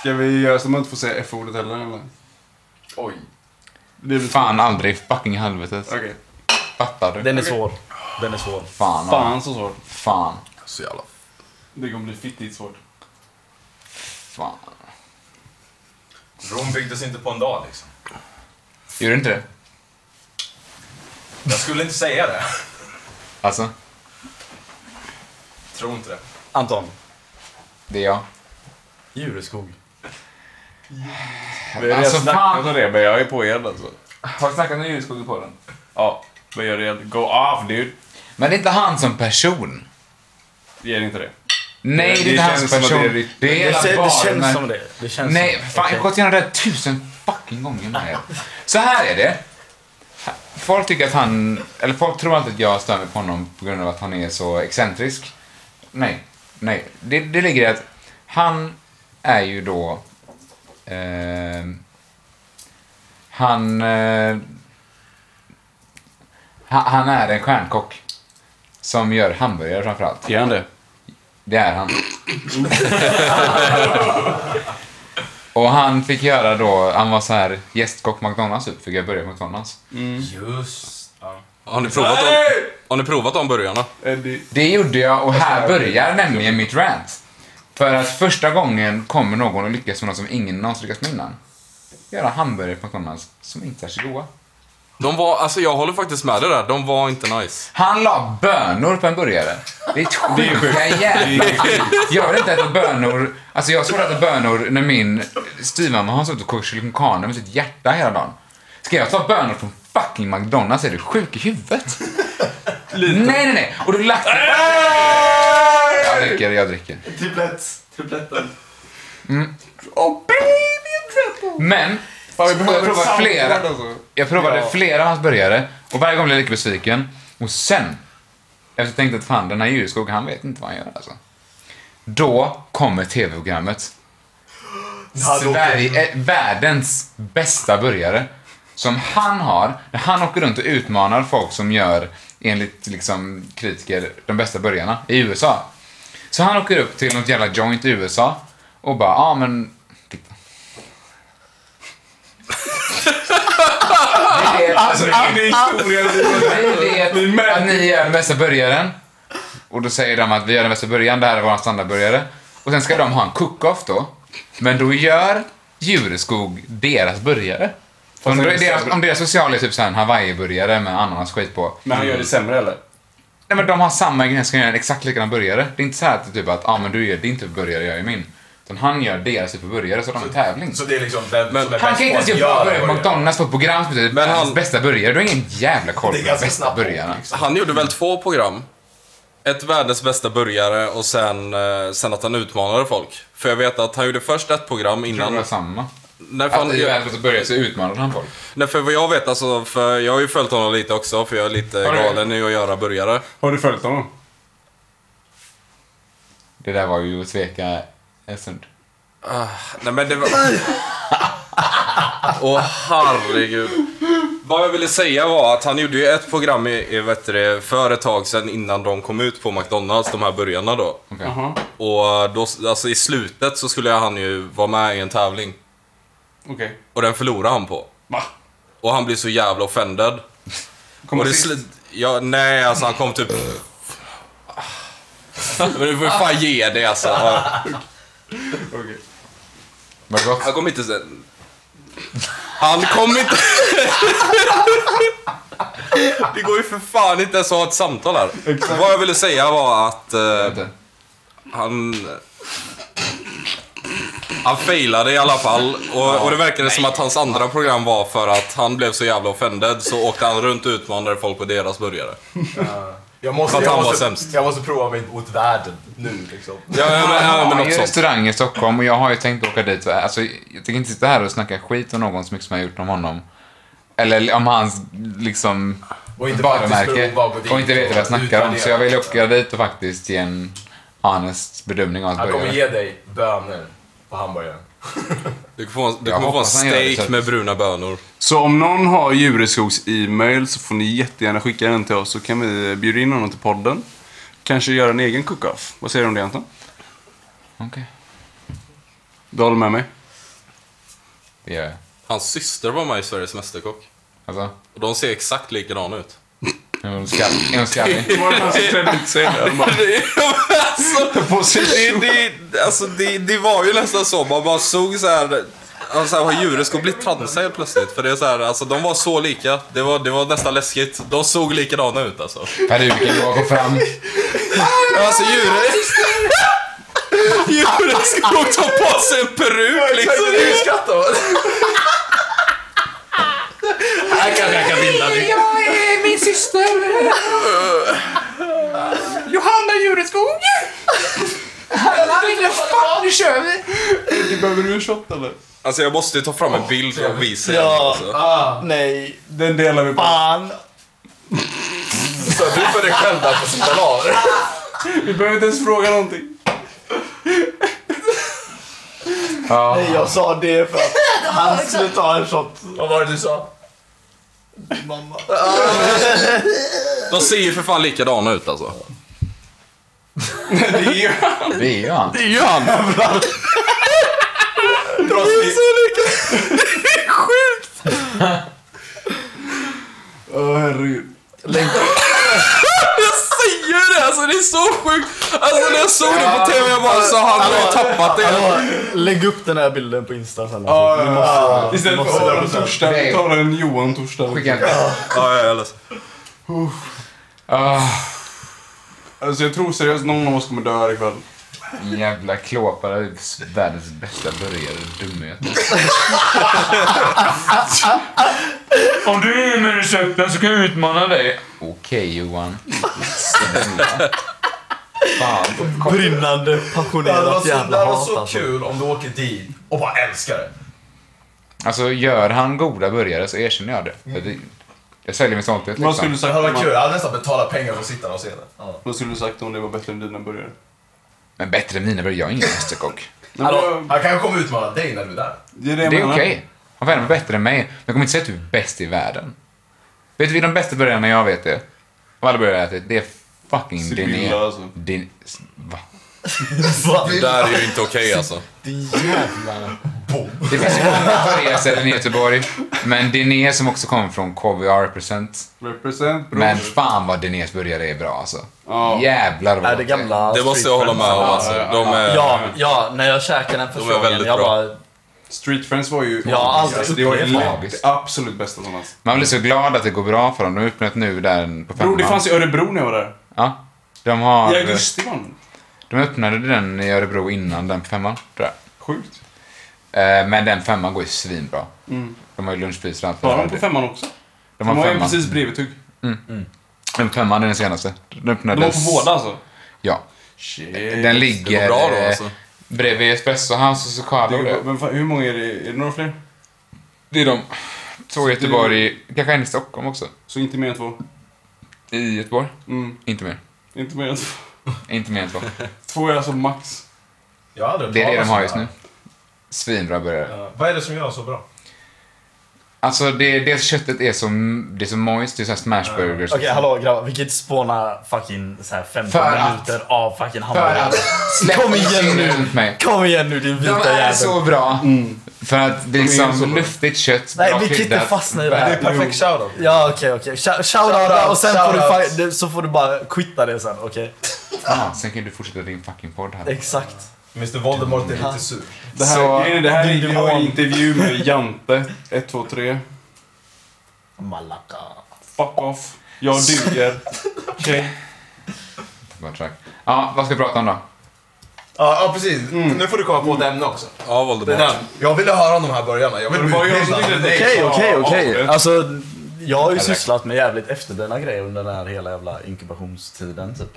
Speaker 2: Ska vi göra så man inte får säga F-ordet heller eller?
Speaker 5: Oj.
Speaker 2: Det blir
Speaker 1: Fan aldrig, fucking helvetet.
Speaker 2: Okej.
Speaker 1: Fattar du?
Speaker 3: Den är svår. Den är svår.
Speaker 1: Fan, fan.
Speaker 2: Fan så svårt.
Speaker 1: fan.
Speaker 4: Så jävla...
Speaker 2: Det kommer bli fittigt svårt.
Speaker 1: Fan.
Speaker 5: Rom byggdes inte på en dag liksom.
Speaker 1: Gjorde inte det?
Speaker 5: Jag skulle inte säga det.
Speaker 1: Alltså,
Speaker 5: Tror inte det.
Speaker 3: Anton,
Speaker 1: det är jag.
Speaker 3: Djureskog.
Speaker 2: Vi har
Speaker 1: Alltså,
Speaker 2: alltså, snackat
Speaker 1: fan.
Speaker 2: om det, men jag är på er alltså.
Speaker 1: Har du snackat om Djurskogen på den?
Speaker 2: Ja, men gör det igen. Go off dude.
Speaker 1: Men det är inte han som person.
Speaker 2: Det Ger inte det.
Speaker 1: Nej, det, är
Speaker 2: det
Speaker 1: inte
Speaker 2: känns
Speaker 1: hans
Speaker 2: som att
Speaker 1: person.
Speaker 2: det
Speaker 1: Det
Speaker 2: är
Speaker 1: är,
Speaker 2: ditt-
Speaker 3: Det,
Speaker 1: hela
Speaker 3: det, det
Speaker 1: barnen.
Speaker 3: känns som det. det känns
Speaker 1: Nej,
Speaker 3: som det.
Speaker 1: fan, jag
Speaker 3: Okej.
Speaker 1: har gått igenom det här tusen fucking gånger med. er. Så här är det. Folk tycker att han, eller folk tror alltid att jag stör mig på honom på grund av att han är så excentrisk. Nej, nej. Det, det ligger i att han är ju då... Eh, han... Eh, ha- han är en stjärnkock. Som gör hamburgare framförallt.
Speaker 2: Ger han det?
Speaker 1: Det är han. [LAUGHS] och han fick göra då, han var så här gästkock McDonalds typ, fick jag börja på McDonalds.
Speaker 5: Just ja.
Speaker 4: Har ni provat dem? Har ni provat de burgarna?
Speaker 2: Eddie.
Speaker 1: Det gjorde jag och här börjar nämligen mitt rant. För att första gången kommer någon att lyckas med något som ingen någonsin lyckats med innan. Göra hamburgare på McDonalds som inte är så goda.
Speaker 4: De var, alltså jag håller faktiskt med dig där, de var inte nice.
Speaker 1: Han la bönor på en burgare. Det är ett
Speaker 2: Det är sjukt.
Speaker 1: sjuka jävla Jag vill inte äta bönor. Alltså jag svor att äta bönor när min styvmamma har suttit och kokt chilikonkaner med sitt hjärta hela dagen. Ska jag ta bönor från fucking McDonalds? Är du sjuk i huvudet? Nej, nej, nej. Och du lagt... Jag dricker, jag dricker. Mm.
Speaker 6: Triplett. Tripletten.
Speaker 2: Oh baby!
Speaker 1: Men,
Speaker 2: Fan, vi
Speaker 1: och jag
Speaker 2: behöver
Speaker 1: provar
Speaker 2: soundboard,
Speaker 1: flera.
Speaker 2: alltså.
Speaker 1: Jag provade
Speaker 2: Ja.
Speaker 1: flera av hans burgare och varje gång blev jag lika besviken. Och sen, efter jag tänkte att fan den här Djurskog, han vet inte vad han gör alltså. Då kommer tv-programmet. Sverige, eh, världens bästa burgare. Som han har, när han åker runt och utmanar folk som gör, enligt liksom, kritiker, de bästa burgarna i USA. Så han åker upp till något jävla joint i USA och bara, ja ah, men, titta. Det är-
Speaker 2: Alltså det är historien.
Speaker 1: vi vet
Speaker 2: Vi märker-
Speaker 1: att ni är den bästa burgaren. Och då säger de att vi är den bästa burgaren, det här är vår standardburgare. Och sen ska de ha en cook-off då. Men då gör Djureskog deras burgare. Om
Speaker 2: är det
Speaker 1: deras,
Speaker 2: sämre.
Speaker 1: om deras social är typ såhär en hawaii-burgare med ananas skit på.
Speaker 2: Men han gör det sämre eller?
Speaker 1: Nej men de har samma ingredienser, ska göra en exakt likadan burgare. Det är inte så här att det är typ att ah, men du gör din typ av burgare, jag gör min. Utan han gör deras typ av burgare, så de har en tävling.
Speaker 5: Så det är liksom vem
Speaker 4: Men-
Speaker 5: som är
Speaker 1: Han
Speaker 5: bäst
Speaker 1: kan inte ens
Speaker 5: på att
Speaker 1: göra bra
Speaker 5: göra
Speaker 1: burgare på
Speaker 5: burgare.
Speaker 1: McDonalds på ett program som heter
Speaker 4: Men han-
Speaker 1: bästa burgare. Du har ingen jävla koll
Speaker 5: Det
Speaker 1: på
Speaker 5: är
Speaker 1: de
Speaker 5: ganska
Speaker 1: bästa
Speaker 5: snabbt.
Speaker 1: burgarna.
Speaker 4: Han gjorde väl två program? Ett världens bästa burgare och sen, eh, sen att han utmanade folk. För jag vet att han gjorde först ett program
Speaker 1: Jag tror det
Speaker 4: innan...
Speaker 1: var samma.
Speaker 4: När
Speaker 1: Att
Speaker 4: fan,
Speaker 1: i
Speaker 4: jag,
Speaker 1: världen så börjar så utmanade han folk.
Speaker 4: nej, för vad jag vet alltså, för jag har ju följt honom lite också för jag är lite
Speaker 1: Har du?
Speaker 4: galen i att göra burgare.
Speaker 2: Har du följt honom?
Speaker 1: Det där var ju att sveka en stund.
Speaker 4: Nej men det var... Åh herregud. Vad jag ville säga var att han gjorde ju ett program i, i vet du, det, för ett tag sedan innan de kom ut på McDonalds, de här burgarna då.
Speaker 1: Okej.
Speaker 2: Jaha.
Speaker 4: Och då, alltså i slutet så skulle han ju vara med i en tävling.
Speaker 2: Okej.
Speaker 4: Och den förlorade han på.
Speaker 2: Va?
Speaker 4: Och han blev så jävla offended.
Speaker 2: Kommer
Speaker 4: och det
Speaker 2: sist?
Speaker 4: slu- ja, nej, alltså han kom typ... Men du får ju fan ge det alltså. Ja.
Speaker 2: Okej.
Speaker 1: Var det gott?
Speaker 4: Han kom inte... se- Han kom inte... Det går ju för fan inte ens att ha ett samtal här. Vad jag ville säga var att... eh,
Speaker 1: Vänta.
Speaker 4: Han... Han failade i alla fall och, och det verkade som att hans andra program var för att han blev så jävla offended så åkte han runt och utmanade folk på deras burgare.
Speaker 5: Jag måste,
Speaker 4: För att
Speaker 5: jag,
Speaker 4: han var
Speaker 5: måste,
Speaker 4: sämst.
Speaker 5: jag måste prova mig mot världen nu liksom.
Speaker 4: Ja, ja, men, ja, men
Speaker 1: Han
Speaker 4: något
Speaker 1: gör
Speaker 4: sånt.
Speaker 1: restaurang i Stockholm och jag har ju tänkt åka dit. Alltså, jag tänker inte sitta här och snacka skit om någon så mycket som jag har gjort om honom. Eller om hans liksom
Speaker 5: Och inte
Speaker 1: varumärke.
Speaker 5: faktiskt prova att gå dit
Speaker 1: Och inte veta vad jag
Speaker 5: och
Speaker 1: snackar om. Så
Speaker 5: utvärdera.
Speaker 1: jag vill åka dit och faktiskt ge en honest bedömning av hans
Speaker 5: Han kommer
Speaker 1: burgare.
Speaker 5: ge dig bönor på hamburgaren.
Speaker 4: Du kommer få, du
Speaker 1: Jag
Speaker 4: kommer få en
Speaker 1: hoppas han gör det, så
Speaker 4: steak
Speaker 1: att-
Speaker 4: med bruna bönor.
Speaker 2: Så om någon har Djureskogs e-mail så får ni jättegärna skicka den till oss så kan vi bjuda in honom till podden. Kanske göra en egen cook-off. Vad säger du om det Anton?
Speaker 1: Okej,
Speaker 2: Du håller med mig?
Speaker 1: det gör jag.
Speaker 4: Hans syster var med i Sveriges Mästerkock.
Speaker 1: Alltså,
Speaker 4: Och de ser exakt likadana ut.
Speaker 1: Är hon skall- är hon skallig?
Speaker 2: Det var han som klädde ut sig där. Man
Speaker 4: alltså,
Speaker 2: På sig.
Speaker 4: det, det, alltså det, det var ju nästan så. Man bara såg så här. Alltså, vad djuren skulle bli transa helt plötsligt. För det är så här, alltså, de var så lika. Det var, det var nästan läskigt. De såg likadana ut alltså.
Speaker 1: Peruken går fram.
Speaker 4: Alltså [LAUGHS] djuren... Djuren skulle också ta på sig en peruk liksom.
Speaker 2: Du skrattar va?
Speaker 4: Här kanske jag kan bilda dig.
Speaker 2: Du behöver du en shot eller?
Speaker 4: Alltså jag måste ju ta fram en bild och visa er.
Speaker 3: Ja. Ah.
Speaker 4: Alltså.
Speaker 3: Nej,
Speaker 2: [LAUGHS] Den delar vi på.
Speaker 3: fan.
Speaker 4: Så du får dig själv där på sin bananer.
Speaker 2: Vi behöver inte ens fråga någonting.
Speaker 1: Ja.
Speaker 3: Nej, jag sa det
Speaker 5: [LAUGHS]
Speaker 3: för att han skulle ta en shot.
Speaker 6: Vad var det du sa?
Speaker 3: Mamma.
Speaker 4: De ser ju för fan likadana ut alltså.
Speaker 2: Det är ju...
Speaker 1: Det är ju han.
Speaker 4: Det gör han!
Speaker 2: Åh herregud.
Speaker 4: Jag säger det! Alltså det är så sjukt! Alltså när jag såg det på TV jag bara så han har ju tappat det.
Speaker 3: Hallå, lägg upp den här bilden på Insta sen.
Speaker 2: Ja,
Speaker 3: Alltså.
Speaker 2: ja, ja. Istället
Speaker 3: måste
Speaker 2: för
Speaker 3: göra
Speaker 2: Aron
Speaker 3: det.
Speaker 2: torsdag, vi tar en Johan torsdag.
Speaker 1: Skicka en...
Speaker 4: Ja, jag är ledsen.
Speaker 1: Ah,
Speaker 2: Alltså jag tror seriöst någon av oss kommer dö här ikväll.
Speaker 1: jävla klåpare. Världens bästa burgare. Dumhet. Om du är med i sekten så kan jag utmana dig. Okej Johan. Snälla. Fan. kom-
Speaker 3: Brinnande,
Speaker 5: Det hade
Speaker 3: passionerat
Speaker 5: varit så, det
Speaker 3: jävla
Speaker 5: hade varit
Speaker 3: hat
Speaker 5: så
Speaker 3: alltså.
Speaker 5: kul om du åker dit och bara älskar det.
Speaker 1: Alltså gör han goda burgare så erkänner jag det. För det- Jag säljer min stolthet
Speaker 2: Vad
Speaker 1: liksom.
Speaker 2: skulle du
Speaker 5: Det
Speaker 2: sagt,
Speaker 5: hade varit kul.
Speaker 2: om,
Speaker 5: Jag hade nästan betalat pengar för att sitta där och se det. Ja.
Speaker 2: vad skulle du sagt om det var bättre än dina burgare?
Speaker 1: Men bättre än mina burgare. Jag är ingen mästerkock.
Speaker 5: Hallå, han kan ju komma och utmana dig när du är där.
Speaker 2: Det är det
Speaker 1: Det
Speaker 2: jag
Speaker 1: är okej.
Speaker 2: menar.
Speaker 1: Han får gärna vara bättre än mig. Men jag kommer inte säga att du är bäst i världen. Vet du vilka de bästa burgarna jag vet är? Av alla burgare jag ätit. Det är fucking
Speaker 2: Sibylla,
Speaker 1: Diné.
Speaker 2: alltså.
Speaker 1: Din... s- Va?
Speaker 4: Det där är ju inte okej alltså.
Speaker 3: Din jävla...
Speaker 1: Det finns ju många burgarställen i Göteborg. Men Diné som också kommer från KVR Present.
Speaker 2: Represent bror.
Speaker 1: Men fan vad Dinés burgare är bra alltså.
Speaker 2: Ja.
Speaker 1: Jävlar vad
Speaker 3: Är det
Speaker 1: gott
Speaker 3: gamla
Speaker 4: Det måste jag hålla med om alltså. De är...
Speaker 3: Ja, ja, när jag käkade den första
Speaker 4: Eh, De är väldigt
Speaker 3: gången. Jag
Speaker 4: bra.
Speaker 3: bara...
Speaker 2: Street Friends var ju...
Speaker 3: Jag har aldrig
Speaker 2: alltså, det var ju
Speaker 3: upplevt
Speaker 1: det.
Speaker 2: det absolut bästa som fanns.
Speaker 1: Man blir så glad att det går bra för dem. De har öppnat nu där på
Speaker 2: Bror, det
Speaker 1: femman.
Speaker 2: fanns i Örebro när jag var där.
Speaker 1: Ja. De har...
Speaker 2: I augusti var det.
Speaker 1: De öppnade den i Örebro innan den på femman, tror jag.
Speaker 2: Sjukt.
Speaker 1: Eh, Men den femman går ju svinbra.
Speaker 2: Mm.
Speaker 1: De har ju lunchpriser och allt.
Speaker 2: Var
Speaker 1: det
Speaker 2: de
Speaker 1: där.
Speaker 2: på femman också?
Speaker 1: De
Speaker 2: De
Speaker 1: har
Speaker 2: var ju
Speaker 1: femman.
Speaker 2: precis bredvid Tugg.
Speaker 1: Den femman är den senaste. Den
Speaker 2: De var
Speaker 1: öppnades...
Speaker 2: på båda alltså.
Speaker 1: Ja.
Speaker 2: Shit.
Speaker 1: Den
Speaker 4: Det går
Speaker 1: ligger
Speaker 4: bra då
Speaker 1: eh,
Speaker 4: alltså.
Speaker 1: bredvid Espresso House och
Speaker 2: Det
Speaker 1: Socado.
Speaker 2: är ju-
Speaker 1: Det,
Speaker 2: Men fan, hur många är det? Är det några fler?
Speaker 1: det är de. Två i Göteborg, kanske en i Stockholm också.
Speaker 2: Så inte mer än två?
Speaker 1: I Göteborg?
Speaker 2: Mm,
Speaker 1: Inte mer.
Speaker 2: inte mer än två. [LAUGHS]
Speaker 1: Inte mer än
Speaker 3: [LAUGHS]
Speaker 1: två.
Speaker 2: Två är alltså max.
Speaker 5: Jag har aldrig
Speaker 1: Det är det de
Speaker 5: talat
Speaker 1: har
Speaker 5: så
Speaker 1: just
Speaker 5: här.
Speaker 1: nu. Svinbra burgare.
Speaker 5: Ja. Vad är det som gör dem så bra?
Speaker 1: Alltså, det, det köttet är så, det är så moist. Det är såhär smashburgers.
Speaker 3: Okej, hallå grabbar. Vi kan inte spåna fucking så här 15
Speaker 1: För att-
Speaker 3: minuter av fucking
Speaker 1: För
Speaker 3: hamburgare.
Speaker 1: att... Släpp
Speaker 3: Kom igen
Speaker 1: synen
Speaker 3: nu. Mm.
Speaker 1: runt mig.
Speaker 3: Kom igen nu din
Speaker 1: De
Speaker 3: vita
Speaker 1: är
Speaker 3: jävel.
Speaker 1: så bra. För att det är
Speaker 2: är så
Speaker 1: liksom
Speaker 2: bra.
Speaker 1: luftigt kött,
Speaker 3: Nej,
Speaker 1: bra
Speaker 3: vi kan inte
Speaker 1: kryddat.
Speaker 3: fastna i det här.
Speaker 5: perfekt shoutout.
Speaker 3: Ja okej okej, Shou- shout
Speaker 5: Shout
Speaker 3: out
Speaker 5: out,
Speaker 3: och sen får du,
Speaker 5: shout out.
Speaker 3: fa- du- så får du bara quitta det sen, okej?
Speaker 1: Ah, sen kan du fortsätta din fucking podd här.
Speaker 3: Exakt.
Speaker 5: Mr Voldemort är lite sur.
Speaker 2: Det här,
Speaker 1: Så-
Speaker 2: grejen är, det här är
Speaker 3: Din
Speaker 2: jag har en
Speaker 3: demon.
Speaker 2: intervju med Jante. 1, 2, 3.
Speaker 3: Malaka.
Speaker 2: Fuck off. Jag
Speaker 1: [LAUGHS]
Speaker 2: duger. Okej.
Speaker 1: Bara track. Ja, vad ska vi prata om då?
Speaker 5: Ja, ja precis. Nu får du komma på ett ämne också.
Speaker 4: Ja, Voldemort.
Speaker 5: Mm. Jag ville höra om de här börjarna. Jag
Speaker 2: Men det var ju
Speaker 5: ville
Speaker 2: jag som
Speaker 5: utbilda
Speaker 2: tyckte
Speaker 5: dig.
Speaker 3: Okej okej
Speaker 2: Ja,
Speaker 3: okej.
Speaker 2: ja.
Speaker 3: Alltså, jag har ju
Speaker 1: Eller-
Speaker 3: sysslat med jävligt efterblivna grejer under den här hela jävla inkubationstiden typ.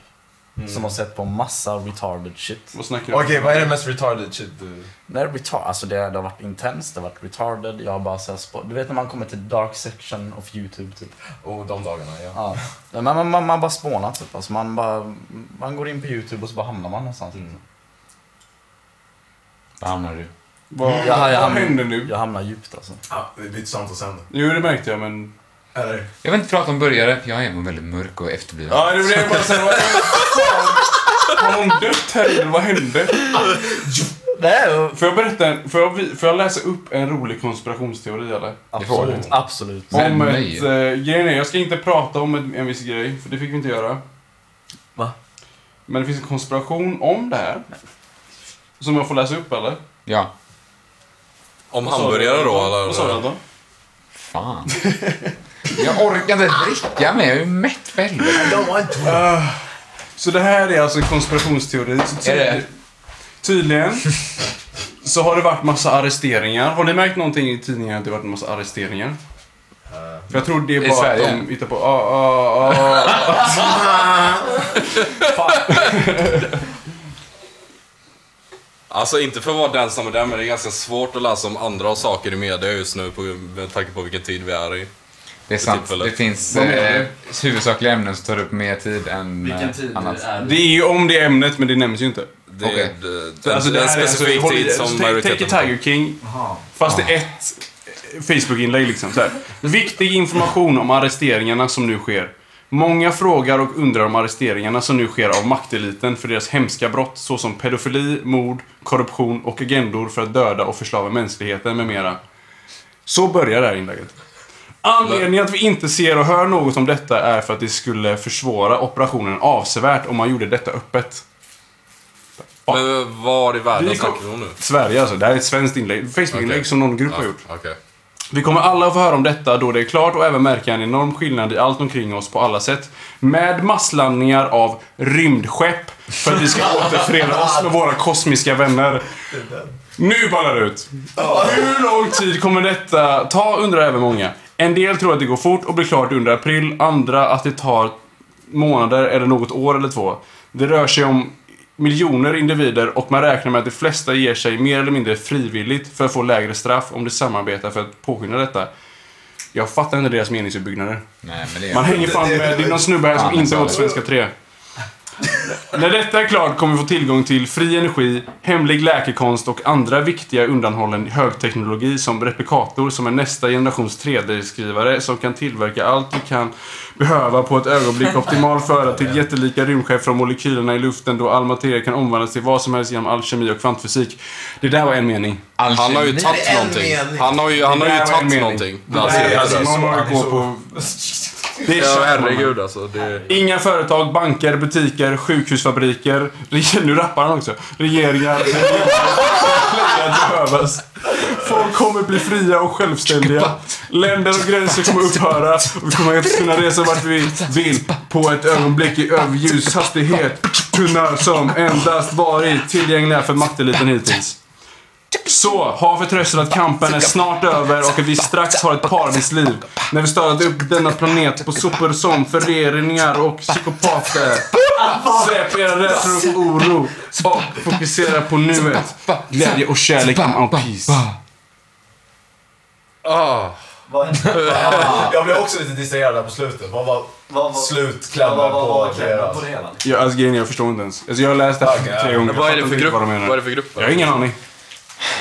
Speaker 4: Mm.
Speaker 3: Som har sett på massa retarded shit.
Speaker 2: Vad snackar du om?
Speaker 5: Okej, vad är det mest retarded shit du...
Speaker 3: Nej, retard, alltså det, det har varit intensivt, det har varit retarded, jag har bara såhär spå- Du vet när man kommer till dark section of youtube typ.
Speaker 5: Oh, de dagarna, ja.
Speaker 3: Ja. Men man, man, man bara spånar typ. Alltså man, bara, man går in på youtube och så bara hamnar man någonstans.
Speaker 5: Mm.
Speaker 1: Var hamnar du?
Speaker 2: Vad,
Speaker 3: Jag, jag,
Speaker 2: vad
Speaker 3: hamnar-
Speaker 2: händer nu?
Speaker 3: jag hamnar djupt alltså.
Speaker 5: ja det blir sant och sen.
Speaker 2: Jo, det märkte jag, men...
Speaker 5: Eller?
Speaker 1: Jag vill inte prata om burgare, för jag är nog väldigt mörk och efterbliven.
Speaker 2: Ja, det blev bara så här... vad- Fan. Har hon dött här eller vad hände?
Speaker 3: Nej,
Speaker 2: Får jag berätta en, får jag, vi- får jag läsa upp en rolig konspirationsteori eller?
Speaker 1: får
Speaker 3: absolut.
Speaker 1: du.
Speaker 3: Absolut.
Speaker 1: Men
Speaker 2: Om
Speaker 1: nej.
Speaker 2: ett, eh, grejen är, jag ska inte prata om en, en viss grej, för det fick vi inte göra.
Speaker 3: Va?
Speaker 2: Men det finns en konspiration om det här. Som jag får läsa upp eller?
Speaker 1: Ja.
Speaker 4: Om hamburgare då
Speaker 2: Vad sa du
Speaker 4: eller?
Speaker 2: Anton?
Speaker 1: Fan. Jag orkar inte dricka mer. Jag är mätt för helvete.
Speaker 3: [LAUGHS]
Speaker 2: Så det här är alltså en konspirationsteori. Så tydli-
Speaker 1: Är det?
Speaker 2: Tydligen så har det varit massa arresteringar. Har ni märkt någonting i tidningarna att det varit en massa arresteringar? För jag tror det är
Speaker 1: Eh, I
Speaker 2: bara
Speaker 1: Sverige?
Speaker 2: att de hittar på... Ah, ah, ah, ah.
Speaker 4: Alltså inte för att vara den som är där, men det är ganska svårt att läsa om andra saker i media just nu på, med tanke på vilken tid vi är i.
Speaker 1: Det är sant.
Speaker 4: tillfället.
Speaker 1: Det finns
Speaker 2: Vad menar
Speaker 1: eh, huvudsakliga ämnen som tar upp mer tid än
Speaker 6: Vilken
Speaker 1: eh,
Speaker 6: tid
Speaker 1: annat.
Speaker 6: är
Speaker 2: Det
Speaker 6: det?
Speaker 2: är ju om det ämnet, men det nämns ju inte.
Speaker 4: Det är
Speaker 1: Okej.
Speaker 4: det- det-
Speaker 2: Alltså,
Speaker 4: det är en
Speaker 2: här är
Speaker 4: specifik
Speaker 2: alltså-
Speaker 4: tid
Speaker 2: alltså,
Speaker 4: som
Speaker 2: take-
Speaker 4: majoriteten...
Speaker 2: Take a Tiger King,
Speaker 6: Jaha.
Speaker 2: fast det är ett eh, Facebook-inlägg liksom. Så här. Viktig information om arresteringarna som nu sker. Många frågar och undrar om arresteringarna som nu sker av makteliten för deras hemska brott såsom pedofili, mord, korruption och agendor för att döda och förslava mänskligheten med mera. Så börjar det här inlägget. Anledningen att vi inte ser och hör något om detta är för att det skulle försvåra operationen avsevärt om man gjorde detta öppet.
Speaker 4: Men var i världen
Speaker 2: Vi kom-
Speaker 4: snackar vi om nu?
Speaker 2: Sverige alltså. Det här är ett svenskt inlägg. Facebook-inlägg
Speaker 4: Okej.
Speaker 2: som någon grupp har
Speaker 4: Ja,
Speaker 2: gjort.
Speaker 4: okej.
Speaker 2: Vi kommer alla att få höra om detta då det är klart och även märka en enorm skillnad i allt omkring oss på alla sätt. Med masslandningar av rymdskepp för att vi ska återförena oss med våra kosmiska vänner. Nu ballar det ut! Hur lång tid kommer detta ta undrar även många. En del tror att det går fort och blir klart under april, andra att det tar månader eller något år eller två. Det rör sig om miljoner individer och man räknar med att de flesta ger sig mer eller mindre frivilligt för att få lägre straff om de samarbetar för att påskynda detta. Jag fattar inte deras meningsutbyggnader.
Speaker 1: Nej, men det
Speaker 2: Man
Speaker 1: är...
Speaker 2: hänger fan med. Det är någon snubbe här som inte har åt Svenska 3. När detta är klart kommer vi få tillgång till fri energi, hemlig läkekonst och andra viktiga undanhållen högteknologi som replikator som är nästa generations 3D-skrivare som kan tillverka allt vi kan behöva på ett ögonblick optimal föra till jättelika rymdskepp från molekylerna i luften då all materia kan omvandlas till vad som helst genom alkemi och kvantfysik. Det där var en mening.
Speaker 4: Han har ju
Speaker 1: Alkemi.
Speaker 4: tagit
Speaker 7: en
Speaker 4: någonting.
Speaker 7: mening.
Speaker 4: Han har ju, han
Speaker 2: Det
Speaker 4: har
Speaker 2: där var
Speaker 4: ju
Speaker 2: en
Speaker 4: tagit
Speaker 2: mening.
Speaker 4: någonting.
Speaker 2: Alltså,
Speaker 4: Alltså,
Speaker 2: alltså, någon har gått på... Det är
Speaker 4: Ja,
Speaker 2: kört,
Speaker 4: herregud alltså. Det...
Speaker 2: Inga företag, banker, butiker, sjukhusfabriker. reg- Nu rappar han också. Regeringar. regioner, att behövas. Folk kommer bli fria och självständiga. Länder och gränser kommer upphöra och vi kommer att kunna resa vart vi vill på ett ögonblick i överljushastighet. Tunnar som endast varit tillgängliga för makteliten hittills. Så, ha förtröstan att kampen är snart över och att vi strax har ett parningsliv. När vi startat upp denna planet på sopor som föreringar och psykopater. Släpp era rädslor och oro och fokusera på nuet. Glädje och kärlek om all peace.
Speaker 4: Ah.
Speaker 7: Vad hände?
Speaker 5: Jag blev också lite distraherad där på slutet. Vad var
Speaker 7: Vad var-
Speaker 5: slutklämmen
Speaker 7: vad- vad var
Speaker 5: på
Speaker 7: klämmen
Speaker 5: deras?
Speaker 7: på det hela?
Speaker 2: Ja, alltså grejen är, jag förstår inte ens. Alltså, jag har läst det här tre gånger.
Speaker 4: Men vad är det
Speaker 2: Jag fattar inte
Speaker 4: för grupp?
Speaker 2: Vad de
Speaker 4: Vad är det
Speaker 2: menar.
Speaker 4: för grupp?
Speaker 2: Jag har ingen aning.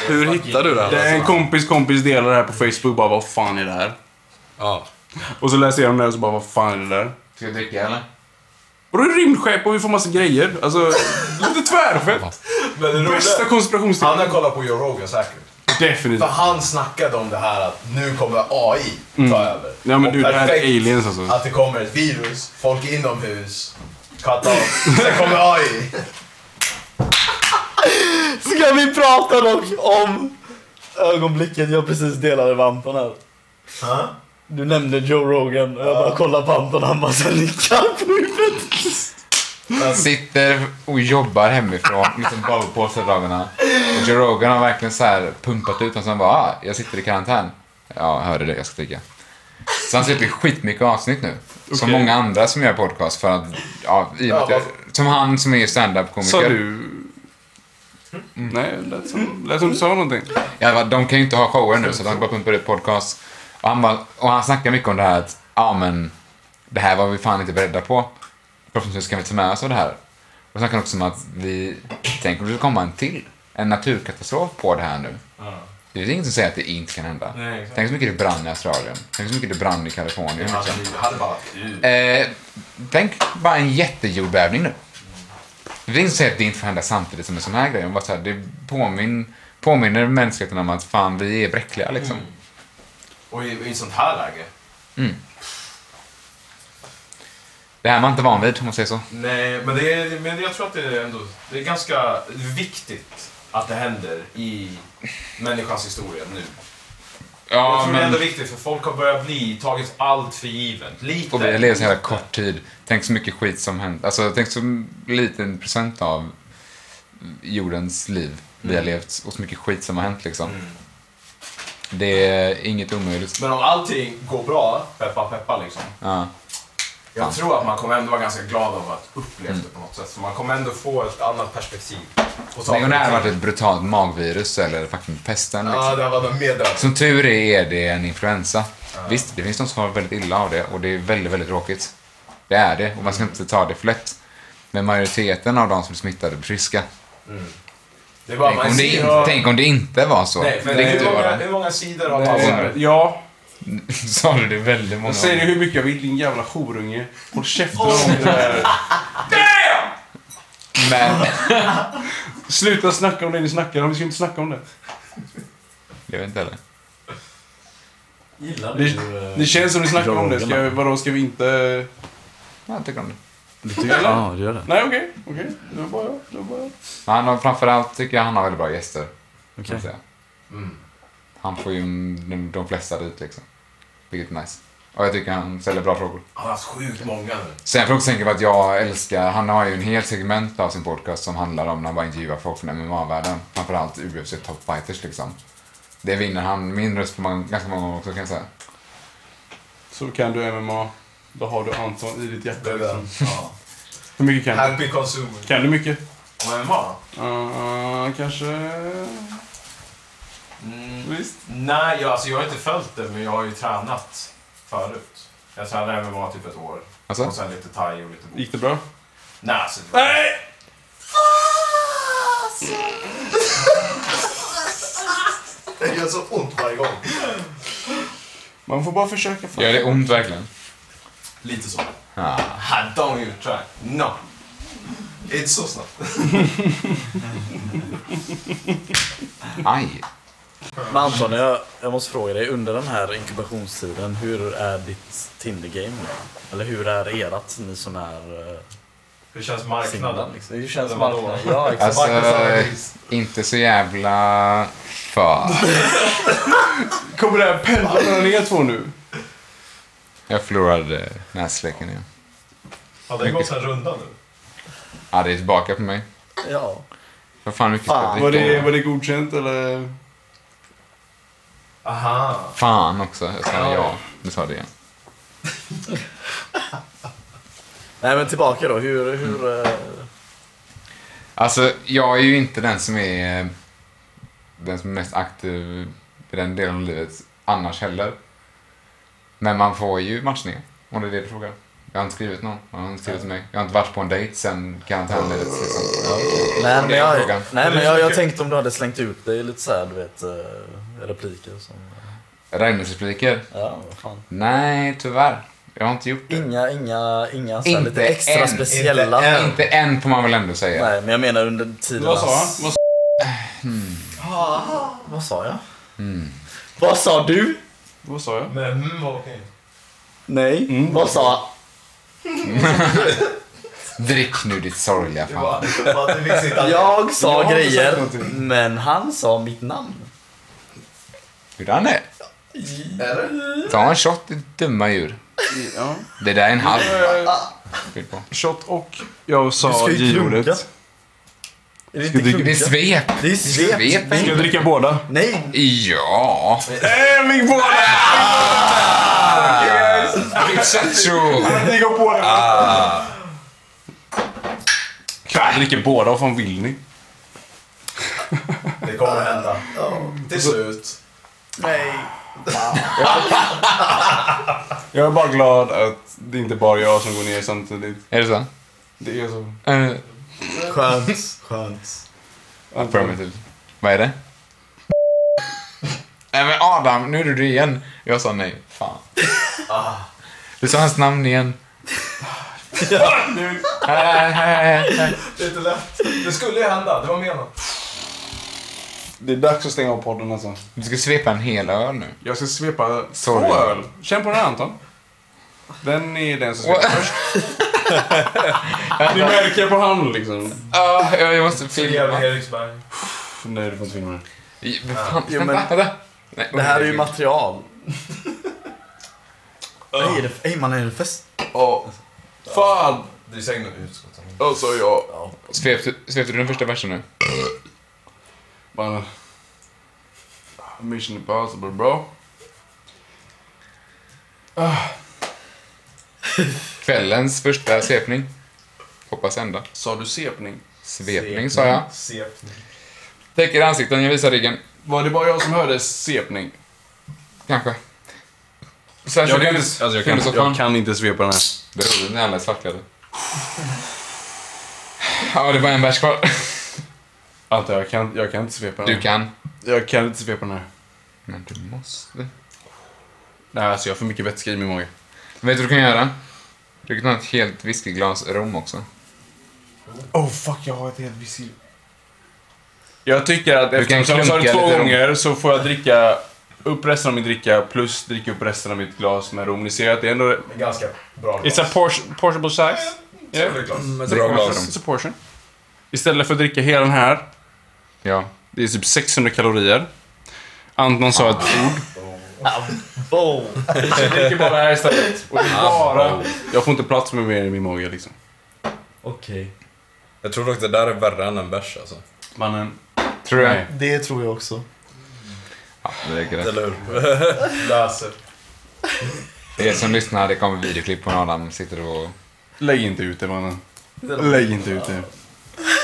Speaker 4: Hur hittar du det
Speaker 2: Det är
Speaker 4: här?
Speaker 2: en kompis kompis delar det här på Facebook bara vad fan är det här?
Speaker 4: Ja.
Speaker 2: Och så läser jag om det här och så bara vad fan är det där?
Speaker 1: Ska jag dricka eller?
Speaker 2: Och då är det rymdskepp och vi får massa grejer. Alltså, lite tvärfett.
Speaker 5: Men
Speaker 2: Bästa
Speaker 5: det roliga, han har
Speaker 2: konspirationsteorin.
Speaker 5: kollat på Joe Rogan säkert. För
Speaker 2: Definitivt.
Speaker 5: han snackade om det här att nu kommer AI ta över.
Speaker 2: Mm. Ja, men
Speaker 5: Och
Speaker 2: du, det här är
Speaker 5: perfekt
Speaker 2: aliens, alltså.
Speaker 5: Att det kommer ett virus, folk är inomhus, cut off, sen kommer AI.
Speaker 7: Ska vi prata dock om ögonblicket jag precis delade med Anton här?
Speaker 5: Huh?
Speaker 7: Du nämnde Joe Rogan och jag bara kollar på Anton och han bara så här nickar på huvudet.
Speaker 1: Sitter och jobbar hemifrån, liksom bara på sig dagarna. Och Joe Rogan har verkligen så här pumpat ut honom som bara, ah, jag sitter i karantän. Ja, jag hörde det, jag ska dricka. Så han släpper skitmycket avsnitt nu. Som
Speaker 2: Okej.
Speaker 1: många andra som gör podcast för att, ja, i och med att
Speaker 5: Ja,
Speaker 1: jag, som han som är
Speaker 2: Sa
Speaker 1: standup-komiker.
Speaker 2: du... Nej, det lät som, lät som du sa någonting.
Speaker 1: Ja, va, de kan ju inte ha shower nu så de bara pumpar ut podcast. Och han, bara, och han snackar mycket om det här att, ja men, det här var vi fan inte beredda på. Förhoppningsvis kan vi ta med oss av det här. Och snackar också om att vi, tänk om det skulle komma en till, en naturkatastrof på det här nu. Det är inget som säger att det inte kan hända.
Speaker 6: Nej, exakt.
Speaker 1: Tänk så mycket det brann i Australien. Tänk så mycket det brann i Kalifornien.
Speaker 5: Alltså,
Speaker 1: Liksom.
Speaker 5: det hade bara varit kul.
Speaker 1: Eh, tänk bara en jättejordbävning nu. Det är inte så att det inte får hända samtidigt som en sån här grej. Men bara så här, det påmin, påminner mänskligheten om att fan, vi är bräckliga liksom.
Speaker 5: [LAUGHS] Och i, i ett sånt här läge?
Speaker 1: Det här är man inte van vid, om man säger så.
Speaker 5: Nej, men, det är, men jag tror att det är ändå det är ganska viktigt att det händer i människans historia nu. jag
Speaker 1: Ja,
Speaker 5: tror det är
Speaker 1: men...
Speaker 5: ändå viktigt för folk har börjat bli, tagit allt för givet. Lite.
Speaker 1: Och vi lever så här
Speaker 5: lite.
Speaker 1: kort tid. Tänk så mycket skit som hänt. Alltså, tänk så liten procent av jordens liv vi har levt och så mycket skit som har hänt liksom. Det är inget omöjligt.
Speaker 5: Men om allting går bra, peppa peppa liksom.
Speaker 1: Ja.
Speaker 5: Jag tror att man kommer ändå vara ganska glad över att uppleva det på något sätt. För man kommer ändå få ett annat perspektiv. på saker
Speaker 1: Tänk om det här
Speaker 5: och
Speaker 1: hade
Speaker 5: ting.
Speaker 1: varit ett brutalt magvirus eller fucking pesten liksom.
Speaker 5: Ja, det hade varit mer död.
Speaker 1: Som tur är, är det en influensa. Visst, det finns de som har väldigt illa av det och det är väldigt, väldigt tråkigt. Det är det och man ska inte ta det för lätt. Men majoriteten av de som är smittade blir friska.
Speaker 5: Det är bara
Speaker 1: Tänk
Speaker 5: man
Speaker 1: om det,
Speaker 5: ser...
Speaker 1: inte- tänk om det inte var så.
Speaker 5: Nej, men
Speaker 1: det kan
Speaker 5: hur,
Speaker 1: inte
Speaker 5: många,
Speaker 1: vara. [LAUGHS]
Speaker 5: hur många sidor har man?
Speaker 1: Nej.
Speaker 5: så
Speaker 2: Eh,
Speaker 5: här?
Speaker 2: ja,
Speaker 1: Sa du det väldigt många
Speaker 2: jag säger det
Speaker 1: gånger?
Speaker 2: hur mycket jag vill din jävla horunge. Håll käften om det där.
Speaker 1: Men
Speaker 2: Sluta snacka om det ni snackar om, vi ska inte snacka om det.
Speaker 1: jag vet inte heller.
Speaker 7: Gillar
Speaker 2: Det,
Speaker 7: eh,
Speaker 2: det känns som ni snackar om det. Ska,
Speaker 7: drogerna?
Speaker 2: vadå, ska vi inte...
Speaker 1: Jag tycker om det.
Speaker 7: Du tycker- Ja, det gör det.
Speaker 2: Nej, okej. okej. Det var bara jag. Det var bara jag.
Speaker 1: Men han har, framförallt tycker jag han har väldigt bra gäster. kan
Speaker 7: Okej.
Speaker 1: jag säga.
Speaker 5: Mm.
Speaker 1: Han får ju de, de flesta dit liksom. Vilket är nice. Och jag tycker han ställer bra frågor.
Speaker 5: Han har haft sjukt många nu.
Speaker 1: Sen får jag också tänka på att jag älskar, han har ju en hel segment av sin podcast som handlar om när han bara intervjuar folk från MMA-världen. Framförallt UFC top fighters liksom. Det vinner han min röst på många, ganska många gånger också kan jag säga.
Speaker 2: Så kan du MMA. Då har du Anton i ditt hjärta.
Speaker 5: Det där.
Speaker 2: Liksom.
Speaker 5: Ja.
Speaker 2: Hur mycket kan du?
Speaker 5: Happy consumer.
Speaker 2: Kan du mycket?
Speaker 5: Men vad?
Speaker 2: Uh, kanske...
Speaker 5: Mm.
Speaker 2: Visst.
Speaker 5: Nej, jag, alltså, jag har inte följt det, men jag har ju tränat förut. Jag tränade MMA typ ett år.
Speaker 1: Alltså?
Speaker 5: Och sen lite thai och lite bo.
Speaker 2: Gick det bra?
Speaker 5: Nej, alltså, det var-
Speaker 2: Nej!
Speaker 5: det gör så ont varje gång.
Speaker 2: Man får bara försöka. Fan.
Speaker 1: Gör det ont verkligen?
Speaker 5: Lite så.
Speaker 1: Ja.
Speaker 5: Ah, don't you try. No. It's so snabbt.
Speaker 1: Aj.
Speaker 7: Men Anton, jag, jag måste fråga dig. Under den här inkubationstiden, hur är ditt Tinder-game? Eller hur är erat, ni som är eh,
Speaker 5: Hur känns
Speaker 7: singlar?
Speaker 5: marknaden?
Speaker 7: Liksom? Hur känns
Speaker 5: Eller vadå?
Speaker 7: marknaden? Ja, exakt.
Speaker 1: Alltså, inte så jävla för.
Speaker 2: Kommer det här pendla mellan er två nu?
Speaker 1: Jag förlorade näsleken igen.
Speaker 5: Har det gått en runda nu?
Speaker 1: Ja, det är tillbaka på mig.
Speaker 7: Ja.
Speaker 1: Vad fan mycket
Speaker 7: Fan.
Speaker 1: ska jag
Speaker 2: Var det,
Speaker 1: dricka?
Speaker 2: var det godkänt eller?
Speaker 5: Aha.
Speaker 1: Fan också, jag sa ja. Du sa det igen.
Speaker 7: Nej men tillbaka då, hur... hur
Speaker 1: Mm.
Speaker 7: eh,
Speaker 1: Alltså, jag är ju inte den som är eh, den som är mest aktiv i den delen av livet annars heller. Men man får ju matchningar, om det är det du frågar. Jag har inte skrivit någon, jag har inte skrivit till mig. Jag har inte varit på en dejt sen karantänlivet. Liksom.
Speaker 7: nej men,
Speaker 1: Det är
Speaker 7: jag,
Speaker 1: frågan.
Speaker 7: nej, men jag, jag tänkte om du hade slängt ut dig lite såhär, du vet, eh, repliker som...
Speaker 1: Ragnhildsrepliker?
Speaker 7: Ja, vad fan.
Speaker 1: Nej, tyvärr. Jag har inte gjort det.
Speaker 7: Inga, inga, inga såhär,
Speaker 1: Inte
Speaker 7: lite extra
Speaker 1: än,
Speaker 7: speciella.
Speaker 1: Inte än får man väl ändå säga.
Speaker 7: Nej, men jag menar under tiden...
Speaker 2: Vad sa han? Vad sa-
Speaker 7: Vad sa jag?
Speaker 1: Mm.
Speaker 7: Vad sa du?
Speaker 2: Vad sa jag?
Speaker 5: Men mm, okej.
Speaker 7: Nej. Vad sa...
Speaker 1: Drick nu ditt sorgliga fan.
Speaker 5: Vad du fick sitta
Speaker 7: Jag sa
Speaker 2: Jag har inte sagt
Speaker 7: grejer,
Speaker 2: någonting.
Speaker 7: men han sa mitt namn.
Speaker 1: Hur han är? Ta en shot ditt dumma djur.
Speaker 2: Ja.
Speaker 1: Det där är en halv. Fyll på.
Speaker 2: Shot och jag
Speaker 7: ah. Du
Speaker 2: sa
Speaker 7: krunka.
Speaker 2: J-ordet.
Speaker 7: Är det
Speaker 2: du-
Speaker 7: inte
Speaker 1: Det är
Speaker 7: krunka?
Speaker 1: svep.
Speaker 7: Det är
Speaker 1: svep.
Speaker 7: svep.
Speaker 2: Ska jag dricka båda?
Speaker 7: Nej,
Speaker 1: Ja.
Speaker 2: Nej, min båda!
Speaker 1: Pizzacho.
Speaker 2: Ni går på det. Ah. Jag dricker båda, vad fan vill ni?
Speaker 5: Det kommer hända. Till slut.
Speaker 7: nej.
Speaker 2: Jag är bara glad att det inte bara är jag som går ner samtidigt.
Speaker 1: Är det så?
Speaker 2: Det är så.
Speaker 1: Uh,
Speaker 7: Skönt, skönt.
Speaker 1: affirmative. Vad är det? Nej men Adam, nu är du det igen. Jag sa nej. Fan. Du sa hans namn igen.
Speaker 5: Det är inte lätt. Det skulle ju hända, det var menat.
Speaker 2: Det är dags att stänga av podden alltså.
Speaker 1: Du ska svepa en hel öl nu.
Speaker 2: Jag ska svepa
Speaker 1: Sorry.
Speaker 2: två öl. Känn på den här Anton. Den är den som svepar först. Ni märker på hand liksom.
Speaker 1: Ah, jag jag måste filma.
Speaker 5: Trevlig Eriksberg.
Speaker 2: Nej, du får inte filma den.
Speaker 1: I- vad Fan,
Speaker 7: Jo,
Speaker 1: vänta,
Speaker 7: men-
Speaker 1: vänta. Nej,
Speaker 7: Det här är ju
Speaker 1: herregud.
Speaker 7: material. Ey, är det- Ey man, är det fest?
Speaker 2: Åh, fan!
Speaker 5: Det är säkert utskottet.
Speaker 2: Och så jag.
Speaker 1: Svepte svepte du den första versen nu?
Speaker 2: Bara... Mission impossible bro.
Speaker 1: Kvällens första svepning. Hoppas ända.
Speaker 2: Sa du sepning?
Speaker 1: Svepning sa jag. Täcker ansikten, jag visar ryggen.
Speaker 2: Var det bara jag som hörde sepning?
Speaker 1: Kanske. Sen
Speaker 2: Jag
Speaker 1: körde
Speaker 2: kan
Speaker 1: jag
Speaker 2: inte,
Speaker 1: inte...
Speaker 2: alltså jag kan, jag
Speaker 1: kan.
Speaker 2: kan inte svepa den här.
Speaker 1: Det är roligt, den är alldeles svartklädd. Ja, det var en vers kvar.
Speaker 2: Anton, jag kan, jag kan inte svepa den
Speaker 1: Du
Speaker 2: här.
Speaker 1: kan.
Speaker 2: Jag kan inte svepa den här.
Speaker 1: Men du måste.
Speaker 2: Nej, alltså jag har för mycket vätska i min mage.
Speaker 1: Vet du vad du kan göra? Du kan ta ett helt whiskyglas rom också.
Speaker 2: Oh fuck, jag har ett helt visir. Jag tycker att
Speaker 1: kan
Speaker 2: eftersom jag sa det
Speaker 1: klunka
Speaker 2: två
Speaker 1: lite rom.
Speaker 2: gånger så får jag dricka upp resten av min dricka plus dricka upp resten av mitt glas med rom. Ni ser att det är ändå...
Speaker 5: Ganska bra
Speaker 2: It's a portion, portable size. Yeah.
Speaker 5: Trevlig glas.
Speaker 1: Bra glas.
Speaker 2: It's a portion. Istället för att dricka hela den här,
Speaker 1: Ja.
Speaker 2: det är typ 600 kalorier. Anton sa ett ord.
Speaker 7: Boom!
Speaker 2: Jag dricker bara det här istället. Och det är bara... Jag får inte plats med mer i min mage liksom.
Speaker 7: Okej.
Speaker 4: Jag tror dock det där är värre än en bärs alltså.
Speaker 2: Mannen.
Speaker 1: Tror du det?
Speaker 2: Nej.
Speaker 7: Det tror jag också.
Speaker 1: Det räcker det.
Speaker 4: Eller hur?
Speaker 5: Läser.
Speaker 1: Er som lyssnar, det kommer videoklipp på när Adam sitter och...
Speaker 2: Lägg inte ut det mannen. Lägg inte ut det.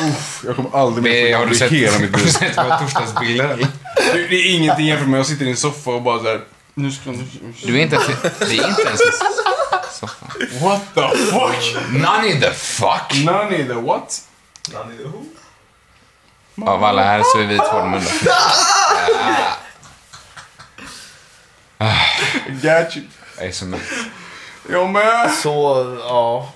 Speaker 2: Uff, jag kommer aldrig mer få
Speaker 1: har du
Speaker 2: det
Speaker 1: sett,
Speaker 2: hela mitt
Speaker 1: har du
Speaker 2: bröst.
Speaker 1: sett våra torsdagsbilder eller?
Speaker 2: Det det är ingenting jämfört med jag sitter i en soffa och bara såhär... Nu ska nu...
Speaker 1: Du är inte ens... Det är inte ens i soffan.
Speaker 2: What the fuck?
Speaker 1: None in the fuck!
Speaker 2: None either what?
Speaker 1: Av alla här så är vi två de enda.
Speaker 2: Got you.
Speaker 1: Jag är så mätt.
Speaker 2: Jag med!
Speaker 7: Så, ja.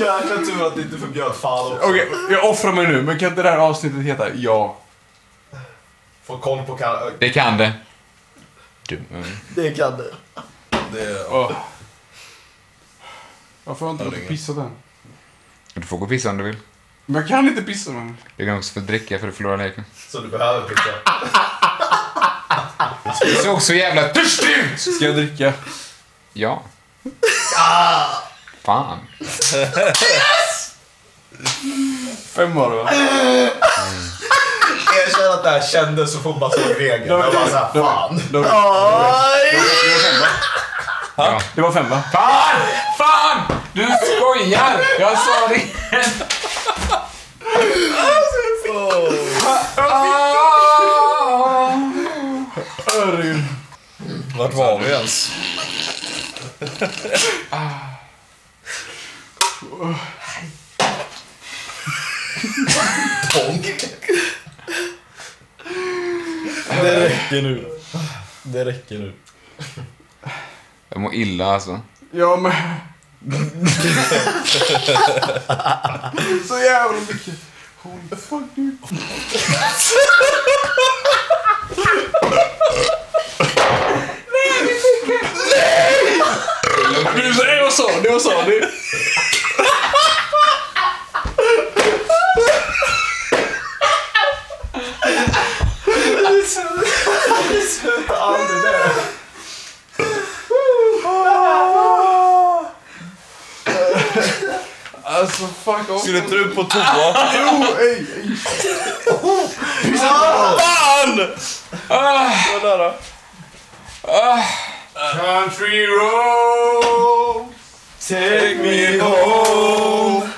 Speaker 5: Jäkla tur att ni inte förbjöd fall också.
Speaker 2: Okej, jag offrar mig nu, men kan inte det här avsnittet heta Ja?
Speaker 5: Få koll på kan...
Speaker 1: Det kan det. Du, mm.
Speaker 7: Det kan du.
Speaker 4: Det är...
Speaker 2: Åh. Varför har jag inte gått och pissat än?
Speaker 1: du får gå och pissa om du vill.
Speaker 2: Men jag kan inte pissa men...
Speaker 1: Du kan också få dricka för att förlora leken.
Speaker 5: Så du behöver typ picka.
Speaker 1: Du såg så jävla törstig ut!
Speaker 2: Ska jag dricka?
Speaker 1: Ja. Fan.
Speaker 2: Fem var det va?
Speaker 5: Erkänn att det här kändes så fort man såg regeln. Jag bara såhär, fan.
Speaker 2: Det var, det var fem va?
Speaker 1: Ja.
Speaker 2: Det var fem va?
Speaker 1: Fan! Fan! Du skojar! Jag sa det Ah!
Speaker 2: Herregud.
Speaker 4: Vart var vi ens?
Speaker 7: Det räcker nu. Det räcker nu.
Speaker 1: Jag mår illa alltså.
Speaker 2: Jag med. Så jävla mycket. Holy fuck dude. Nej, du säger vad sa ni? Vad sa ni? Alltså fuck off.
Speaker 4: Skulle inte du på toa?
Speaker 2: Jo, ej, ej. Country road.
Speaker 7: Take me home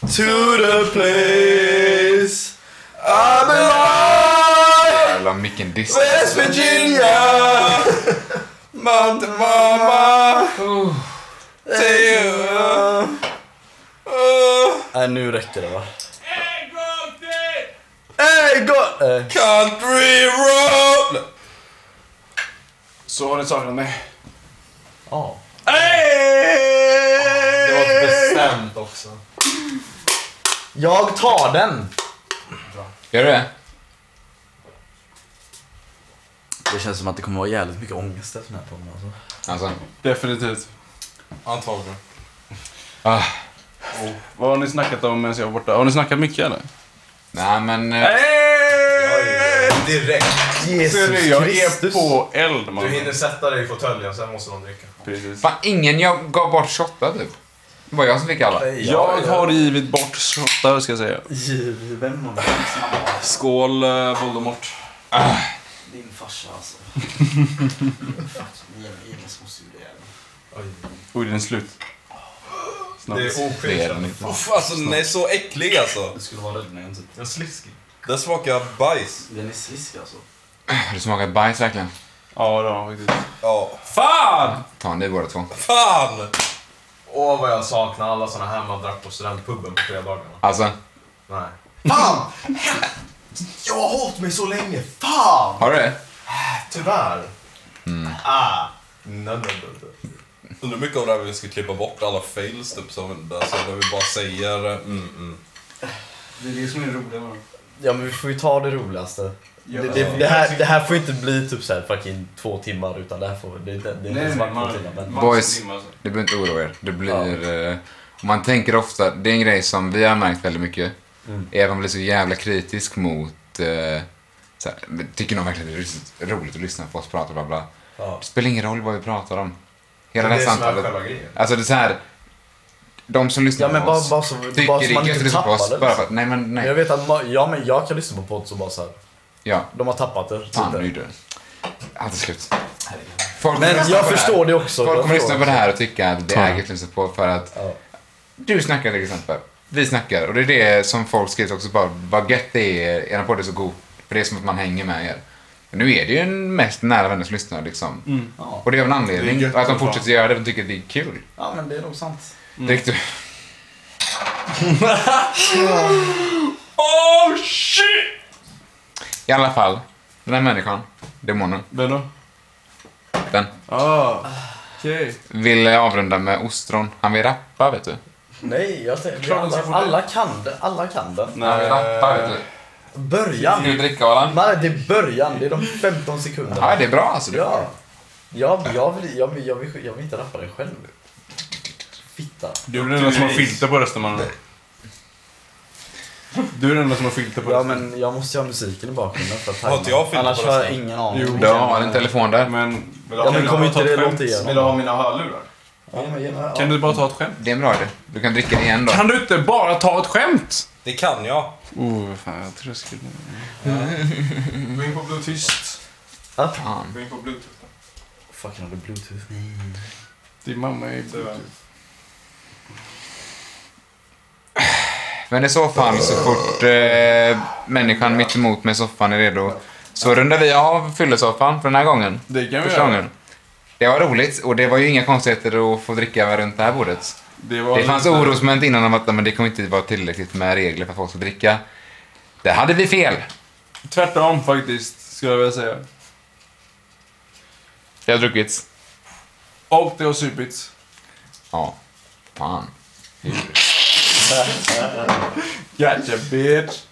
Speaker 7: to the place I belong.
Speaker 1: Jävla micken diss.
Speaker 7: West Virginia, Mountain Mama. Take you. Nej, nu räcker det va? En gång till! En gång!
Speaker 4: Country road!
Speaker 2: Så har ni saknat mig.
Speaker 7: Ja.
Speaker 5: skämt också.
Speaker 8: Jag tar den!
Speaker 1: Gör du det?
Speaker 3: Det känns som att det kommer vara jävligt mycket ångest efter den här podden alltså.
Speaker 1: Alltså.
Speaker 2: Definitivt.
Speaker 4: Antagligen.
Speaker 1: Ah,
Speaker 2: Oh. Vad har ni snackat om medan jag var borta? Har ni snackat mycket eller?
Speaker 1: nej men... eh,
Speaker 5: Direkt.
Speaker 2: Ser ni, jag är
Speaker 8: Kristus.
Speaker 2: på eld man.
Speaker 5: Du hinner sätta dig i fåtöljen, sen måste de dricka.
Speaker 2: Precis.
Speaker 1: Fan, ingen jag gav bort 28 typ. Det var jag som fick alla.
Speaker 2: Jag har givit bort shottar ska jag säga.
Speaker 9: Given någon snabbt.
Speaker 4: Skål eh, Voldemort.
Speaker 9: Din farsa
Speaker 1: [LAUGHS]
Speaker 9: alltså. Fucking jävla jävla småsur jävel.
Speaker 5: Oj.
Speaker 2: Oj, den är slut. Snart.
Speaker 5: Det är
Speaker 1: Det är
Speaker 5: oskyldigt.
Speaker 1: den inte.
Speaker 4: Uff, alltså den är så äcklig alltså.
Speaker 9: Du skulle vara rädd när jag typ.
Speaker 5: En sliskig.
Speaker 4: Den smakar bajs.
Speaker 9: Den är slisk alltså.
Speaker 1: Har du smakat bajs verkligen?
Speaker 2: Ja, det har jag faktiskt.
Speaker 4: Ja. Fan!
Speaker 1: Ta ni båda två.
Speaker 4: Fan!
Speaker 5: Åh vad jag saknar alla såna här man drack på studentpuben på fredagarna.
Speaker 1: Alltså,
Speaker 5: Nej. Fan! Jag har hållit mig så länge. Fan!
Speaker 1: har du det?
Speaker 5: Tyvärr. Ah. No, no, no, no.
Speaker 4: Undrar hur mycket av det här vi ska klippa bort, alla fails typ som händer. Alltså där vi bara säger eh, mm, mm.
Speaker 9: Det är det som är det roliga med dem.
Speaker 3: Ja men vi får ju ta det roligaste.
Speaker 9: Ja,
Speaker 3: det,
Speaker 9: alltså.
Speaker 3: det, det, här, det här får inte bli typ såhär fucking två timmar utan det här får... Det, det, det är inte ens bara två timmar men...
Speaker 1: Boys.
Speaker 9: alltså.
Speaker 1: Ni behöver inte oroa er. Det blir... eh, och man tänker ofta, det är en grej som vi har märkt väldigt mycket, är att man blir så jävla kritisk mot... eh, så här, men tycker någon verkligen det är rys- roligt att lyssna på oss prata bla bla.
Speaker 3: Ja.
Speaker 1: Det spelar ingen roll vad vi pratar om.
Speaker 5: Det
Speaker 1: Hela det
Speaker 5: är
Speaker 1: här
Speaker 5: det som är
Speaker 1: samtalet.
Speaker 5: själva grejen.
Speaker 1: Alltså det är så här. De som lyssnar
Speaker 3: Ja men
Speaker 1: på
Speaker 3: bara,
Speaker 1: oss
Speaker 3: bara så,
Speaker 1: tycker
Speaker 3: bara
Speaker 1: det
Speaker 3: så
Speaker 1: är
Speaker 3: man
Speaker 1: gött att
Speaker 3: inte
Speaker 1: lyssna på
Speaker 3: tappar
Speaker 1: oss.
Speaker 3: det.
Speaker 1: Bara för
Speaker 3: Liksom.
Speaker 1: att, nej men
Speaker 3: Jag
Speaker 1: nej.
Speaker 3: vet att ma- ja, men jag kan lyssna på podd så bara såhär,
Speaker 1: Ja,
Speaker 3: de har tappat det. typ
Speaker 1: fan
Speaker 3: det.
Speaker 1: nu är det. Allt är slut. Folk
Speaker 3: Men
Speaker 1: lyssnar
Speaker 3: jag
Speaker 1: på det här.
Speaker 3: förstår det också.
Speaker 1: Folk
Speaker 3: Jag
Speaker 1: kommer lyssna
Speaker 3: förstår
Speaker 1: på det här och tycka att det
Speaker 8: Ta
Speaker 1: är
Speaker 8: det.
Speaker 1: gött att lyssna på för att
Speaker 3: Ja.
Speaker 1: du snackar till exempel. Vi snackar och det är det som folk skriver också bara, vad gött det är, eran podd är så god. För det är som att man hänger med er. Men nu är det ju en mest nära vänner som lyssnar liksom.
Speaker 3: Mm.
Speaker 8: Ja.
Speaker 1: Och det är av en
Speaker 2: Det är
Speaker 1: anledning. att
Speaker 2: gött
Speaker 1: de
Speaker 2: att vara.
Speaker 1: fortsätter göra det, de tycker att det är kul.
Speaker 8: ja, men det är nog sant.
Speaker 1: Det är riktigt-
Speaker 4: Oh shit!
Speaker 1: I alla fall, den här människan, demonen,
Speaker 2: Vem då?
Speaker 1: den,
Speaker 2: Ah, okej.
Speaker 1: vill avrunda med ostron. Han vill rappa vet du.
Speaker 3: Nej, jag tänker, vi
Speaker 2: Klart de ska
Speaker 3: alla,
Speaker 2: få det.
Speaker 3: alla kan det. Alla kan det.
Speaker 1: Han vill rappa vet
Speaker 2: Nej.
Speaker 1: du.
Speaker 3: Början.
Speaker 1: Ska du dricka Allan?
Speaker 3: Man, det är början, det är de 15 sekunderna.
Speaker 1: Ja, det är bra alltså. Du
Speaker 3: Ja.
Speaker 1: får.
Speaker 3: Ja, jag vill, jag vill, jag vill, jag vill inte rappa det själv. Fitta.
Speaker 2: Du är den enda som har filter på rösten mannen. Du är den enda som har filter på
Speaker 3: Ja,
Speaker 2: rösten.
Speaker 3: men jag måste ju ha musiken i bakgrunden för att
Speaker 4: Har inte jag
Speaker 3: tajma.
Speaker 4: filter på
Speaker 3: Annars har jag
Speaker 4: resten?
Speaker 3: ingen aning.
Speaker 2: Jo.
Speaker 1: Du har en telefon där.
Speaker 2: Men
Speaker 5: Vill du
Speaker 3: Ja,
Speaker 5: ha
Speaker 3: men
Speaker 5: mina-
Speaker 3: kommer inte det
Speaker 2: skämt?
Speaker 3: låta igenom?
Speaker 5: Vill du ha mina hörlurar?
Speaker 3: Ja, men, ja,
Speaker 2: kan du bara ta ett skämt?
Speaker 1: Det är en bra idé. Du kan dricka det igen då.
Speaker 2: Kan du inte bara ta ett skämt?
Speaker 4: Det kan jag.
Speaker 2: Oh, fan jag tror jag skulle...
Speaker 5: Gå in på bluetooth.
Speaker 1: Fan.
Speaker 5: Gå in på bluetooth.
Speaker 3: Fucking har du bluetooth?
Speaker 2: Din mamma är...
Speaker 1: Men i så fall, så fort eh, människan mitt emot mig i soffan är redo så rundar vi av fyllesoffan för den här gången.
Speaker 2: Det kan vi
Speaker 1: Första
Speaker 2: göra.
Speaker 1: gången. Det var roligt och det var ju inga konstigheter att få dricka runt det här bordet.
Speaker 2: Det, var
Speaker 1: Det fanns
Speaker 2: lite-
Speaker 1: orosmoment innan om att men det kommer inte vara tillräckligt med regler för att folk ska dricka. Där hade vi fel.
Speaker 2: Tvärtom faktiskt, skulle jag vilja säga.
Speaker 1: Det har druckits.
Speaker 2: Och det har supits.
Speaker 1: Ja. Fan.
Speaker 2: Gotcha bitch!